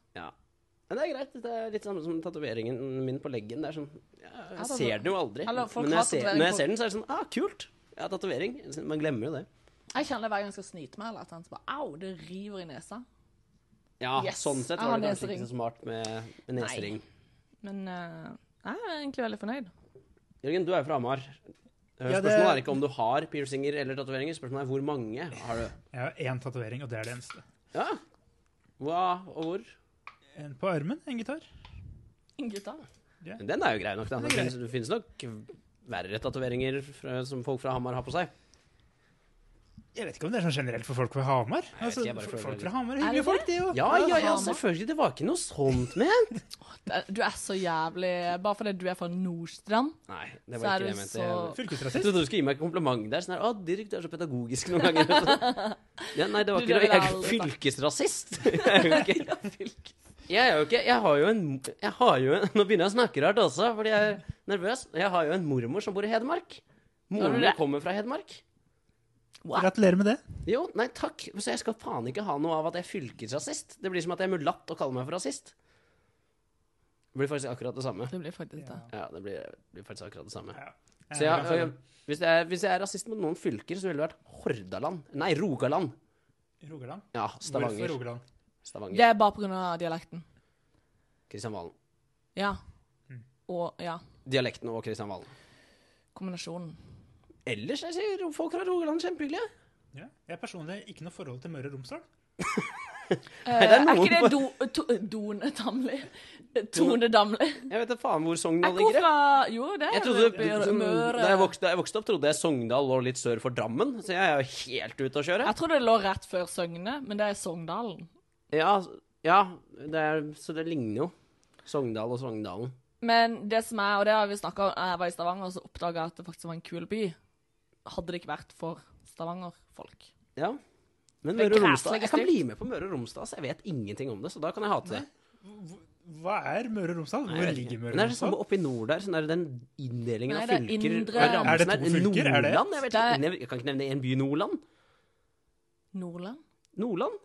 Speaker 1: Men det er greit. Det er litt samme som tatoveringen min på leggen. Det er sånn, ja,
Speaker 3: Ja,
Speaker 1: jeg
Speaker 3: da-
Speaker 1: ser den jo aldri.
Speaker 3: Eller folk
Speaker 1: Men når
Speaker 3: har
Speaker 1: jeg, ser, når
Speaker 3: tatovering på-
Speaker 1: jeg ser den, så er det sånn ah, kult! Jeg har tatovering. Man glemmer jo det.
Speaker 3: Jeg kjenner det hver gang jeg skal snyte meg, eller et eller annet, så bare au, det river i neseren.
Speaker 1: Ja,
Speaker 3: Yes.
Speaker 1: sånn sett
Speaker 3: Jeg
Speaker 1: var
Speaker 3: har
Speaker 1: det kanskje
Speaker 3: nesering.
Speaker 1: ikke så smart med, med nesering.
Speaker 3: Men eh, jeg er egentlig veldig fornøyd.
Speaker 1: Jørgen, du er jo fra Hamar. Eh,
Speaker 4: Ja, det-
Speaker 1: Spørsmålet er ikke om du har piercinger eller tatoveringer, spørsmålet er hvor mange har du?
Speaker 4: Jeg har én tatovering, og det er det eneste.
Speaker 1: Ja. Hva og hvor?
Speaker 4: En på armen, en gitar.
Speaker 3: En gitar.
Speaker 1: Den er jo grei nok, da. Det
Speaker 4: Det er
Speaker 1: finnes, det finnes nok verre tatoveringer fra- som folk fra Hamar har på seg.
Speaker 4: Jeg vet ikke om det er sånn generelt for folk fra Hamar.
Speaker 1: vet
Speaker 4: Altså,
Speaker 1: ikke, jeg bare
Speaker 4: for-
Speaker 1: føler
Speaker 4: folk
Speaker 1: det
Speaker 4: fra Hamar er
Speaker 3: Er det
Speaker 4: hyggelige folk, de jo.
Speaker 1: Ja, ja, ja,
Speaker 3: Hamar.
Speaker 1: selvfølgelig. Det var ikke noe sånt med
Speaker 3: Du er så jævlig Bare fordi du er fra Nordstrand,
Speaker 1: Nei, det
Speaker 3: Så er
Speaker 1: var ikke det jeg
Speaker 3: du
Speaker 1: mente.
Speaker 3: så-
Speaker 1: Jeg
Speaker 4: Fylkesrasist.
Speaker 1: trodde du skulle gi meg et kompliment der. Sånn her, å, Dirk, du er så pedagogisk noen ganger. Ja, nei, det var
Speaker 3: Du,
Speaker 1: ikke
Speaker 3: det
Speaker 1: noe. Jeg er
Speaker 3: vil
Speaker 1: jo
Speaker 3: jeg
Speaker 1: fylkesrasist. Jeg er jo ikke Jeg er jo ikke Jeg har jo en Jeg har jo en Nå begynner jeg å snakke rart også, fordi jeg er nervøs. Jeg har jo en mormor som bor i Hedmark.
Speaker 3: Har du
Speaker 1: Moren
Speaker 3: det?
Speaker 1: min kommer fra Hedmark.
Speaker 4: Gratulerer med det.
Speaker 1: Jo, nei takk. Så jeg skal faen ikke ha noe av at jeg er fylkesrasist. Det blir som at jeg er mulatt og kaller meg for rasist. Det blir faktisk akkurat det samme.
Speaker 3: det blir faktisk det.
Speaker 1: Ja, det blir, det blir faktisk akkurat det samme.
Speaker 4: Ja.
Speaker 1: Så jeg, og jeg, hvis, jeg, hvis jeg er rasist mot noen fylker, så ville det vært Hordaland. Nei, Rogaland.
Speaker 4: Rogaland.
Speaker 1: Ja,
Speaker 4: Hvorfor
Speaker 1: Stavanger.
Speaker 4: Rogaland?
Speaker 1: Stavanger.
Speaker 3: Det er bare pga. dialekten.
Speaker 1: Kristian Valen.
Speaker 3: Ja.
Speaker 4: Mm.
Speaker 3: Og ja,
Speaker 1: Dialekten og Kristian Valen.
Speaker 3: kombinasjonen.
Speaker 1: Ellers jeg sier folk fra Rogaland kjempehyggelige.
Speaker 4: Ja. Jeg har personlig ikke noe forhold til Møre og Romsdal.
Speaker 3: Eh,
Speaker 1: det er
Speaker 3: er,
Speaker 1: noen-
Speaker 3: ikke det do, to, Done Damli? Tone Damli?
Speaker 1: Jeg vet da faen hvor
Speaker 3: Jeg
Speaker 1: Sogndal
Speaker 3: kom
Speaker 1: ligger. jeg.
Speaker 3: fra Jo, det
Speaker 1: Jeg
Speaker 3: er
Speaker 1: trodde,
Speaker 3: oppe i
Speaker 1: som,
Speaker 3: Møre.
Speaker 1: da, jeg vokste, da jeg vokste opp, trodde jeg Sogndal lå litt sør for Drammen, så jeg er jo helt ute å kjøre.
Speaker 3: Jeg trodde det lå rett før Søgne, men det er Sogndalen.
Speaker 1: Ja, altså, ja det er, så det ligner jo. Sogndal og Sogndalen.
Speaker 3: Men det som er, og det har vi snakka om, jeg var i Stavanger, så oppdaga jeg at det faktisk var en kul by. Hadde det ikke vært for Stavanger-folk.
Speaker 1: Ja. Men
Speaker 3: Det er
Speaker 1: Møre og Romsdal
Speaker 3: krasselig
Speaker 1: Jeg kan
Speaker 3: styrt.
Speaker 1: bli med på Møre og Romsdal, så jeg vet ingenting om det, så da kan jeg hate det.
Speaker 4: Hva er Møre og Romsdal?
Speaker 1: Nei,
Speaker 4: Hvor
Speaker 1: jeg vet
Speaker 4: ligger
Speaker 1: ikke.
Speaker 4: Møre
Speaker 1: Men det
Speaker 4: og
Speaker 1: er det samme
Speaker 4: Romsdal?
Speaker 1: oppe i nord der. Sånn der den inndelingen
Speaker 3: Nei,
Speaker 1: av
Speaker 3: det er
Speaker 1: fylker.
Speaker 3: indre-
Speaker 1: og rammen
Speaker 4: Er det
Speaker 1: sånn
Speaker 4: to fylker? Er det-
Speaker 1: Nordland? Jeg, vet,
Speaker 3: Det er-
Speaker 1: ikke. Nevn- jeg kan ikke nevne én by. Nordland?
Speaker 3: Nordland?
Speaker 1: Nordland?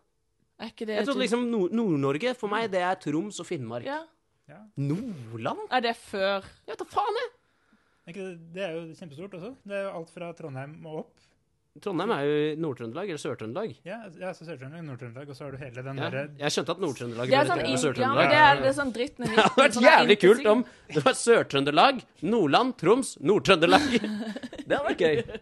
Speaker 3: Er ikke det
Speaker 1: Jeg trodde liksom Nord- Nord-Norge For meg det er Troms og Finnmark.
Speaker 3: ja.
Speaker 1: Nordland?
Speaker 3: Er det før
Speaker 1: Jeg vet da faen, jeg!
Speaker 4: Er ikke Det det er jo kjempestort også. Det er jo alt fra Trondheim og opp.
Speaker 1: Trondheim er jo i Nord-Trøndelag eller Sør-Trøndelag.
Speaker 4: Ja, ja så Sør-Trøndelag, Nord-Trøndelag, og så har du hele den
Speaker 1: Ja.
Speaker 4: derre
Speaker 1: Jeg skjønte at Nord-Trøndelag
Speaker 3: Det er
Speaker 1: ble
Speaker 3: sånn,
Speaker 1: litt
Speaker 3: in,
Speaker 1: med
Speaker 3: ja,
Speaker 1: Sør-Trøndelag.
Speaker 3: men det er, det er sånn dritten i
Speaker 1: Det hadde vært jævlig kult om det var Sør-Trøndelag, Nordland, Troms, Nord-Trøndelag. Det hadde vært gøy.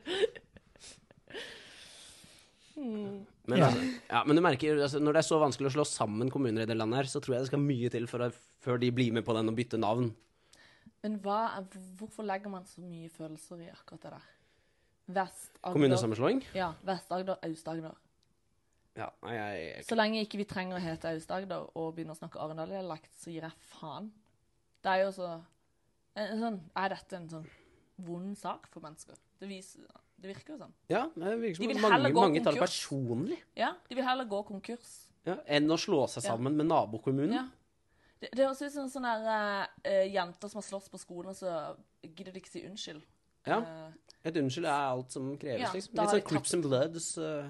Speaker 3: Hmm.
Speaker 1: Men,
Speaker 4: Ja.
Speaker 1: altså, ja, men du merker, altså, når det er så vanskelig å slå sammen kommuner i det landet her, så tror jeg det skal mye til for å, før de blir med på den og bytter navn.
Speaker 3: Men hva, hvorfor legger man så mye følelser i akkurat det der? Vest-Agder,
Speaker 1: Kommunesammenslåing?
Speaker 3: ja, Vest-Agder, Aust-Agder.
Speaker 1: Ja, nei, jeg,
Speaker 3: Så lenge ikke vi trenger å hete Aust-Agder og begynne å snakke Arendal-dialekt, så gir jeg faen. Det er jo så en, en sånn, Er dette en sånn vond sak for mennesker? Det, viser, det virker jo sånn.
Speaker 1: ja, det virker
Speaker 3: De
Speaker 1: som
Speaker 3: vil
Speaker 1: at
Speaker 3: heller
Speaker 1: mange,
Speaker 3: gå
Speaker 1: mange tar det
Speaker 3: konkurs.
Speaker 1: personlig
Speaker 3: Ja, de vil heller gå konkurs.
Speaker 1: ja, enn å slå seg
Speaker 3: Ja.
Speaker 1: sammen med nabokommunen.
Speaker 3: Ja. Det, det høres ut som sånne der, eh, jenter som har slåss på skolen, og så gidder de ikke si unnskyld.
Speaker 1: Ja.
Speaker 3: Eh,
Speaker 1: Et unnskyld er alt som kreves,
Speaker 3: Ja,
Speaker 1: liksom.
Speaker 3: da
Speaker 1: Litt
Speaker 3: har
Speaker 1: sånn
Speaker 3: de
Speaker 1: Crips and Bloods. eh,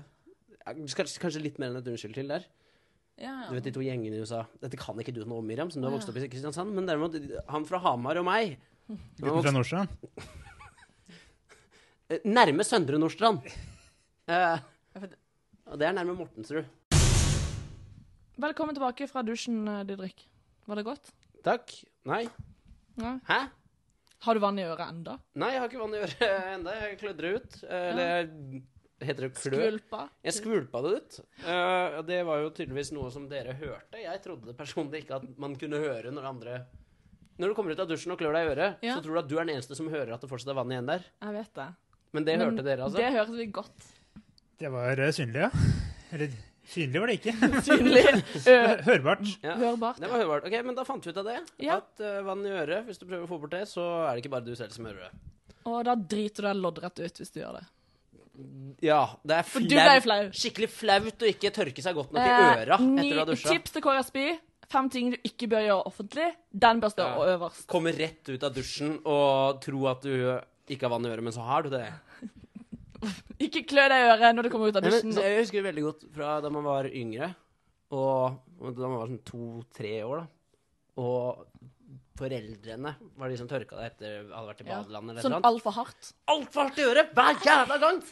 Speaker 1: ja, kanskje, kanskje litt mer enn et unnskyld til der.
Speaker 3: ja, ja.
Speaker 1: Du vet de to gjengene i USA Dette kan ikke du noe om, Miriam, som du har
Speaker 3: Å,
Speaker 1: vokst opp i Kristiansand. Men derimot, han fra Hamar og meg han
Speaker 4: gutten
Speaker 1: vokste-
Speaker 4: fra Nordstrand.
Speaker 1: eh, Nærme Søndre Nordstrand. Eh, Og det er nærme Mortensrud.
Speaker 3: Velkommen tilbake fra dusjen, eh, Didrik. Var det godt?
Speaker 1: Takk. Nei.
Speaker 3: Nei.
Speaker 1: Hæ?
Speaker 3: Har du vann i øret enda?
Speaker 1: Nei, jeg har ikke vann i øret enda. Jeg klødder ut. Eh, Eller jeg- heter det klø?
Speaker 3: Skvulpa?
Speaker 1: Jeg skvulpa det ut. Eh, og det var jo tydeligvis noe som dere hørte. Jeg trodde personlig ikke at man kunne høre når andre Når du kommer ut av dusjen og klør deg i øret,
Speaker 3: Ja.
Speaker 1: så tror du at du er den eneste som hører at det fortsatt er vann igjen der.
Speaker 3: Jeg vet det.
Speaker 1: Men det
Speaker 3: Men
Speaker 1: hørte dere, altså?
Speaker 3: Det hørte vi godt.
Speaker 4: Det var eh, synlig, ja. Eller synlig var det ikke.
Speaker 3: Synlig. Ø-
Speaker 4: Hørbart.
Speaker 1: Ja.
Speaker 3: Hørbart.
Speaker 1: Det var hørbart. Ok, Men da fant vi ut av det.
Speaker 3: Ja.
Speaker 1: At eh, vann i øret, hvis du prøver å få bort det, så er det ikke bare du selv som hører det.
Speaker 3: Og da driter du deg loddrett ut hvis du gjør det.
Speaker 1: Ja, det er
Speaker 3: For du ble
Speaker 1: flaut.
Speaker 3: flau.
Speaker 1: Skikkelig flaut å ikke tørke seg godt nok i
Speaker 3: Eh,
Speaker 1: øra
Speaker 3: ny-
Speaker 1: etter å ha dusja.
Speaker 3: Tips til Kåre Spy. Fem ting du ikke bør gjøre offentlig. Den bør stå
Speaker 1: Ja.
Speaker 3: øverst.
Speaker 1: Komme rett ut av dusjen og tro at du ikke har vann i øret, men så har du det.
Speaker 3: Ikke klø deg i øret når du kommer ut av
Speaker 1: Nei, men,
Speaker 3: dusjen.
Speaker 1: så jeg husker veldig godt fra da man var yngre, og og da man var sånn to-tre år, da. Og foreldrene var de som tørka deg etter hadde vært i
Speaker 3: Ja.
Speaker 1: badelandet liksom. eller noe
Speaker 3: Sånn
Speaker 1: sånt.
Speaker 3: altfor hardt.
Speaker 1: Altfor hardt i øret hver jævla gang!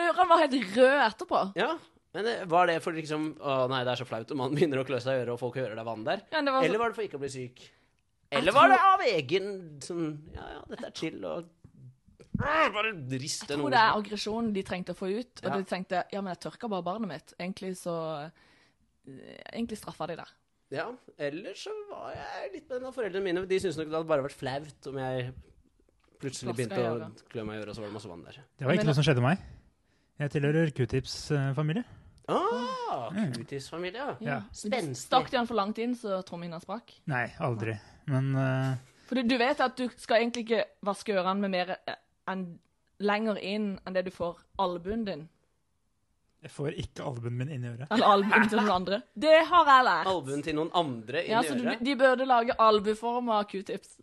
Speaker 3: Ørene var helt røde etterpå.
Speaker 1: Ja, men eh, var det for liksom Å nei, det er så flaut om man begynner å klø seg i øret, og folk hører det er vann der?
Speaker 3: Ja, det var
Speaker 1: Eller
Speaker 3: så,
Speaker 1: var det for ikke å bli syk? Eller var det av egen sånn Ja, ja, dette er chill, og Ah, Bare riste
Speaker 3: jeg tror
Speaker 1: noe.
Speaker 3: det er aggresjonen de trengte å få ut. Og
Speaker 1: Ja.
Speaker 3: de tenkte ja, men jeg tørka bare barnet mitt. Egentlig så eh, Egentlig straffa de det.
Speaker 1: Ja, ellers så var jeg litt med en av foreldrene mine. De syntes nok det hadde bare vært flaut om jeg plutselig
Speaker 3: Plaska
Speaker 1: begynte
Speaker 3: i
Speaker 1: å
Speaker 3: øret.
Speaker 1: klø meg i øret, og så var det masse vann der.
Speaker 4: Det var ikke
Speaker 3: Men-
Speaker 4: noe som skjedde meg. Jeg tilhører eh, Q-tips-familie.
Speaker 1: Ah, Kutis-familie. ja.
Speaker 4: Ja.
Speaker 1: Spenstig.
Speaker 3: Stakk de han for langt inn, så trommehinna sprakk?
Speaker 4: Nei, aldri. Men eh,
Speaker 3: For du, du vet at du skal egentlig ikke vaske ørene med mer eh, enn lenger inn enn det du får albuen din.
Speaker 4: jeg får ikke albuen min inn i øret.
Speaker 3: Eller albuen til noen andre. Det har jeg lært.
Speaker 1: Albuen til noen andre inn
Speaker 3: Ja,
Speaker 1: i
Speaker 3: så du,
Speaker 1: øret.
Speaker 3: De burde lage albueform av q-tips.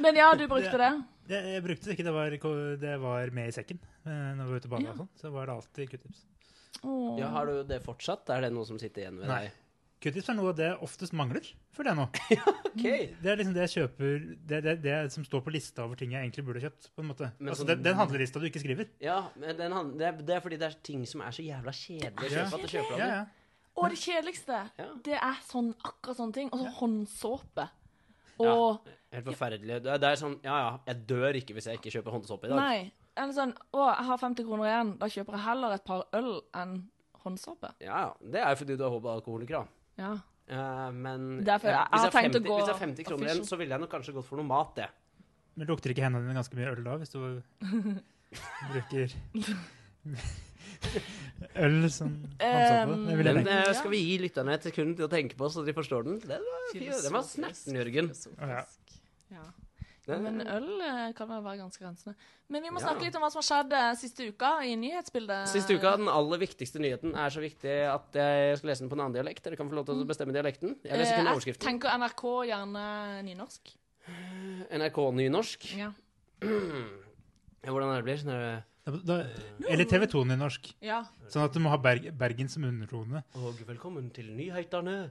Speaker 3: Men ja, du brukte det.
Speaker 4: Jeg, jeg brukte det ikke, det var, ko- det var med i sekken. eh, Når vi var ute på banen
Speaker 3: Ja.
Speaker 4: og sånn, så var det alltid Q-tips.
Speaker 3: Åh.
Speaker 1: Ja, Har du det fortsatt? Er det noe som sitter igjen ved
Speaker 4: Nei.
Speaker 1: deg?
Speaker 4: Q-tips er noe av det jeg oftest mangler, føler jeg nå.
Speaker 1: Ok.
Speaker 4: Det er liksom det jeg kjøper Det, det, det som står på lista over ting jeg egentlig burde kjøpt, på en måte.
Speaker 1: Men
Speaker 4: altså,
Speaker 1: sånn-
Speaker 4: den, den handlelista du ikke skriver.
Speaker 1: Ja, men den, han- det, er, det er fordi det er ting som er så jævla kjedelig å
Speaker 4: Ja.
Speaker 1: kjøpe at du kjøper
Speaker 4: Ja,
Speaker 1: dem.
Speaker 4: ja.
Speaker 3: Og det kjedeligste,
Speaker 1: Ja.
Speaker 3: det er sånn, akkurat sånne ting. Og så håndsåpe.
Speaker 1: Ja.
Speaker 3: Og
Speaker 1: Helt forferdelig. Det er, det er sånn Ja ja, jeg dør ikke hvis jeg ikke kjøper håndsåpe i dag.
Speaker 3: nei. Eller sånn Å, jeg har 50 kroner igjen. Da kjøper jeg heller et par øl enn håndsåpe.
Speaker 1: Ja, ja. Det er jo fordi du er alkoholiker, da.
Speaker 3: Ja.
Speaker 1: Eh, men
Speaker 3: Derfor-
Speaker 1: ja,
Speaker 3: jeg
Speaker 1: hvis,
Speaker 3: har
Speaker 1: det er
Speaker 3: tenkt å
Speaker 1: 50,
Speaker 3: gå
Speaker 1: hvis det er 50 kroner igjen,
Speaker 3: official.
Speaker 1: så ville jeg nok kanskje gått for noe mat, det.
Speaker 4: Men lukter ikke hendene dine ganske mye øl da, hvis du bruker øl som håndsåpe? Det vil jeg
Speaker 1: Men
Speaker 4: tenke.
Speaker 1: eh, skal vi gi lytterne et sekund til å tenke på, så de forstår den? Den var, fin. den var snerten, Jørgen.
Speaker 3: Filosofisk. Ja.
Speaker 1: Den,
Speaker 3: Men øl eh, kan vel være ganske rensende. Men vi må
Speaker 1: Ja.
Speaker 3: snakke litt om hva som har skjedd eh, siste uka i nyhetsbildet. Eh,
Speaker 1: Siste uka, den aller viktigste nyheten er så viktig at jeg skal lese den på en annen dialekt. Dere kan få lov til å bestemme dialekten. Jeg leser kun
Speaker 3: Eh, Jeg
Speaker 1: overskriften.
Speaker 3: tenker NRK gjerne nynorsk.
Speaker 1: NRK Nynorsk.
Speaker 3: Ja.
Speaker 1: Ja, Hvordan er det blir? Sånn er det-
Speaker 4: Da, da, eller TV 2 nynorsk.
Speaker 3: ja.
Speaker 4: Sånn at du må ha Berg, Bergen som undertone.
Speaker 1: Og velkommen til nyhetene.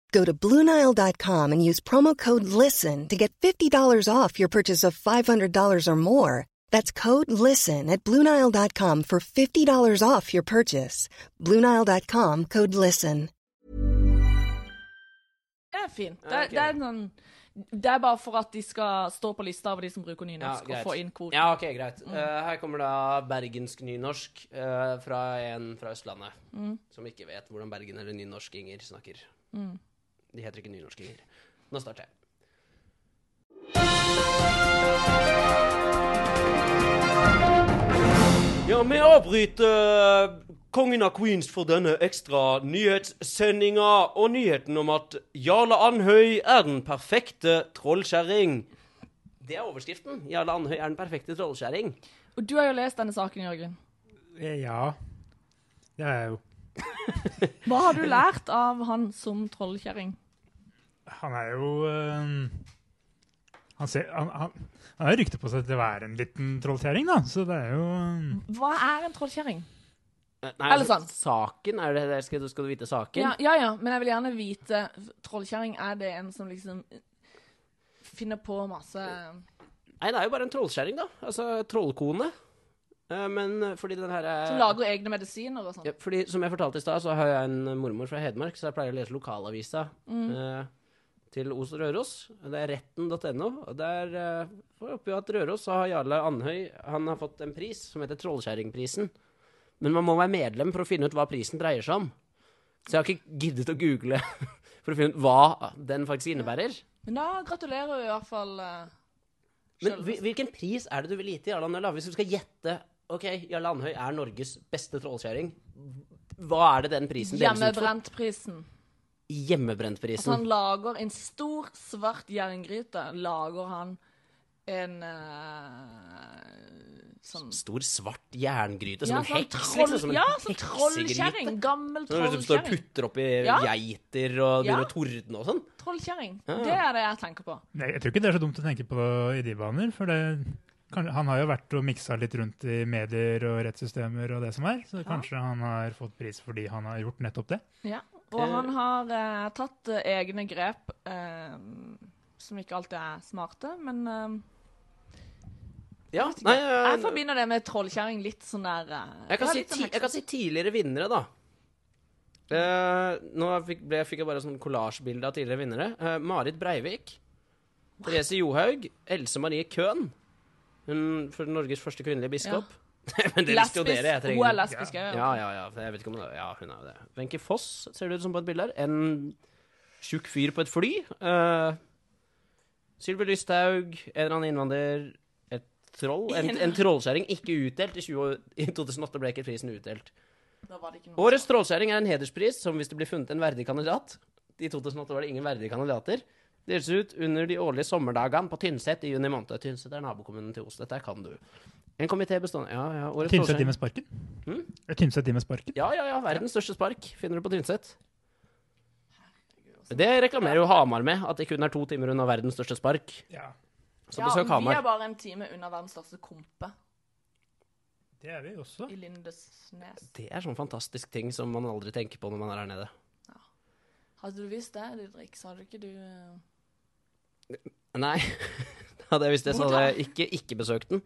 Speaker 5: Go to Bluenile.com and use promo code LISTEN to get $50 off your purchase of $500 or more. That's code LISTEN at Bluenile.com for $50 off your purchase. Bluenile.com code LISTEN.
Speaker 3: det er fint. Det,
Speaker 1: Ja, ok.
Speaker 3: det, er sånn, det er bare for at de skal stå på lista over de som bruker
Speaker 1: Ja,
Speaker 3: nynorsk,
Speaker 1: greit.
Speaker 3: og få inn kvoten. Mm.
Speaker 1: Ja, ok, greit. Eh, her kommer da bergensk nynorsk eh, fra en fra Østlandet
Speaker 3: Mm.
Speaker 1: som ikke vet hvordan Bergen eller nynorskinger snakker. De heter ikke nynorskinger. Nå starter jeg. Ja, vi avbryter eh, kongen av Queens for denne ekstra nyhetssendinga og nyheten om at Jarle Andhøy er den perfekte trollkjerring. Det er overskriften. Jarle Andhøy er den perfekte trollkjerring.
Speaker 3: Og du har jo lest denne saken, Jørgen.
Speaker 4: Eh, ja. Det er jeg jo.
Speaker 3: Hva har du lært av han som trollkjerring?
Speaker 4: Han er jo eh, han, ser, han, han, han har rykte på seg til å være en liten trollkjerring, da. Så det er jo eh,
Speaker 3: Hva er en trollkjerring?
Speaker 1: Nei,
Speaker 3: Eller
Speaker 1: altså,
Speaker 3: sånn.
Speaker 1: Saken? Er det det, skal, du, skal du vite saken?
Speaker 3: Ja, ja, ja, men jeg vil gjerne vite Trollkjerring, er det en som liksom finner på masse
Speaker 1: Nei, det er jo bare en trollskjæring, da. Altså trollkone. Eh, Men fordi den her er
Speaker 3: Som lager egne medisiner og sånn?
Speaker 1: Eh, Ja, fordi Som jeg fortalte i stad, så har jeg en mormor fra Hedmark, så jeg pleier å lese lokalavisa eh, til Os og Røros. Det er retten.no. og Der eh, får jeg oppgi at Røros så har Jarle Andhøy han har fått en pris som heter Trollkjerringprisen. Men man må være medlem for å finne ut hva prisen dreier seg om. Så jeg har ikke giddet å google for å finne ut hva den faktisk innebærer.
Speaker 3: Men da gratulerer vi i hvert fall eh,
Speaker 1: Men
Speaker 3: Sjølvest.
Speaker 1: hvil- hvilken pris er det du vil gi til Jarle Andhøy? da? Hvis du skal gjette Ok, Jarle Andhøy er Norges beste trollkjerring. Hva er liksom det den prisen deles ut for?
Speaker 3: Hjemmebrentprisen.
Speaker 1: Hjemmebrentprisen.
Speaker 3: Så han lager en stor, svart jerngryte. Lager han en eh, sånn
Speaker 1: Stor, svart jerngryte som
Speaker 3: Ja,
Speaker 1: en
Speaker 3: sånn
Speaker 1: heks.
Speaker 3: troll-
Speaker 1: liksom, som en
Speaker 3: ja, sånn
Speaker 1: heksegryte.
Speaker 3: trollkjerring. Gammel
Speaker 1: Som du står og
Speaker 3: trollkjerring.
Speaker 1: putter oppi
Speaker 3: Ja.
Speaker 1: geiter og
Speaker 3: Ja.
Speaker 1: begynner å tordne og sånn.
Speaker 3: Trollkjerring.
Speaker 1: Ja.
Speaker 3: Det er det jeg tenker på.
Speaker 4: Nei, Jeg tror ikke det er så dumt å tenke på i de baner, for det, kan, han har jo vært og miksa litt rundt i medier og rettssystemer og det som er, så kanskje han har fått pris fordi han har gjort nettopp det.
Speaker 3: Ja. Og han har eh, tatt eh, egne grep eh, som ikke alltid er smarte, men eh,
Speaker 1: Ja, nei,
Speaker 3: jeg
Speaker 1: jeg,
Speaker 3: forbinder det med trollkjerring litt sånn der eh,
Speaker 1: jeg, kan
Speaker 3: ja,
Speaker 1: si
Speaker 3: litt sånn
Speaker 1: ti, jeg kan
Speaker 3: hekse.
Speaker 1: si tidligere vinnere, da. Eh, nå fikk, ble, fikk jeg bare sånn kollasjbilde av tidligere vinnere. Eh, Marit Breivik. Therese Johaug. Else Marie Køhn. Hun for Norges første kvinnelige biskop. Men det visste jo dere. Jeg
Speaker 3: Lesbisk. Hun er
Speaker 1: trenger
Speaker 3: lesbisk òg.
Speaker 1: Ja, ja, ja. Jeg vet ikke om det Ja, hun er jo det. Wenche Foss ser det ut som på et bilde her. En tjukk fyr på et fly. Uh, Sylvi Lysthaug, en eller annen innvandrer, et troll. En, en trollskjæring ikke utdelt. I, 20, år- I 2008 ble ikke prisen utdelt.
Speaker 3: Da var det ikke noe.
Speaker 1: Årets trollskjæring er en hederspris som hvis det blir funnet en verdig kandidat I 2008 var det ingen verdige kandidater. Deles ut under de årlige sommerdagene på Tynset i juni måned. Tynset er nabokommunen til Os. Dette her kan du. En komité bestående Ja, ja. Årets
Speaker 4: Tynset
Speaker 1: trollskjæring-
Speaker 4: de med sparken? Er Tynset de med sparken?
Speaker 1: ja, ja, ja. Verdens største spark finner du på Tynset.
Speaker 3: altså.
Speaker 1: Det reklamerer jo Hamar med, at det kun er to timer unna verdens største spark.
Speaker 4: Ja,
Speaker 1: Så besøk
Speaker 3: ja, vi er
Speaker 1: Hamar.
Speaker 3: bare en time unna verdens største kompe
Speaker 4: det er vi også.
Speaker 3: i Lindesnes.
Speaker 1: Det er sånn fantastisk ting som man aldri tenker på når man er her nede.
Speaker 3: Hadde du visst det, Didrik, så hadde ikke du eh,
Speaker 1: Nei, hadde jeg visst det, så hadde jeg ikke, ikke besøkt den.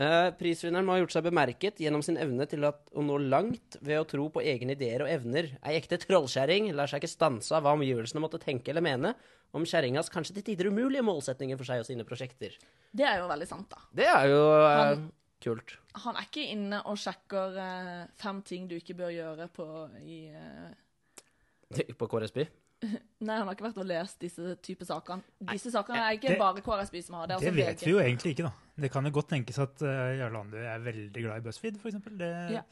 Speaker 1: Eh, prisvinneren må ha gjort seg bemerket gjennom sin evne til at, å nå langt ved å tro på egne ideer og evner. Ei ekte trollskjæring lar seg ikke stanse av hva omgivelsene måtte tenke eller mene om kjerringas kanskje til tider umulige målsetninger for seg og sine prosjekter.
Speaker 3: Det er jo veldig sant, da.
Speaker 1: Det er jo eh,
Speaker 3: Han-
Speaker 1: kult.
Speaker 3: Han er ikke inne og sjekker eh, fem ting du ikke bør gjøre på i eh,
Speaker 1: På KRSB?
Speaker 3: Nei, han har ikke vært og lest disse type sakene. Disse sakene er ikke
Speaker 4: det-
Speaker 3: bare KRSB som har. Det, er
Speaker 4: Det
Speaker 3: også
Speaker 4: vet
Speaker 3: VG.
Speaker 4: vi jo egentlig ikke, da. Det kan jo godt tenkes at eh, Jarle Andøy er veldig glad i BuzzFeed, f.eks. Det...
Speaker 3: Ja.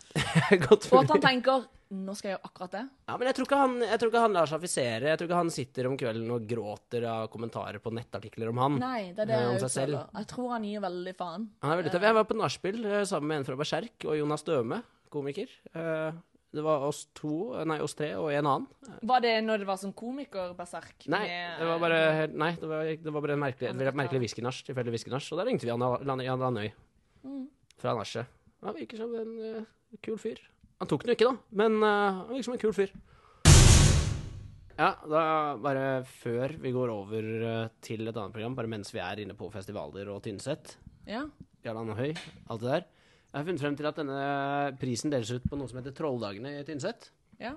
Speaker 1: Godt
Speaker 3: Og at
Speaker 1: mulig.
Speaker 3: han tenker nå skal jeg gjøre akkurat det.
Speaker 1: Ja, men jeg tror, ikke han, jeg tror ikke han lar seg affisere. Jeg tror ikke han sitter om kvelden og gråter av kommentarer på nettartikler om han.
Speaker 3: Nei, det er det
Speaker 1: Ja, om
Speaker 3: jeg
Speaker 1: seg selv.
Speaker 3: utføler. Jeg tror han gir veldig faen.
Speaker 1: Han er veldig tøff. Jeg var på nachspiel eh, sammen med en fra Berserk og Jonas Døme, komiker. Eh, Det var oss to, eh, nei, oss tre og en annen.
Speaker 3: Var det når det var som komiker, berserk?
Speaker 1: Nei,
Speaker 3: med-
Speaker 1: det var bare, helt- nei, det var, det var bare en merkelig,
Speaker 3: Han er
Speaker 1: et merkelig
Speaker 3: klar.
Speaker 1: whisky-nach, tilfeldig whisky-nach. Og da ringte vi Anna- Lan- Jan Landøy fra nachet. Han virker som en eh, kul fyr. Han tok den jo ikke, da, men eh, han virker som en kul fyr. Ja, da bare før vi går over eh, til et annet program, bare mens vi er inne på festivaler og Tynset,
Speaker 3: eh, Ja.
Speaker 1: Jarle Andhøy, alt det der. Jeg har funnet frem til at denne prisen deles ut på noe som heter Trolldagene i Tynset.
Speaker 3: ja.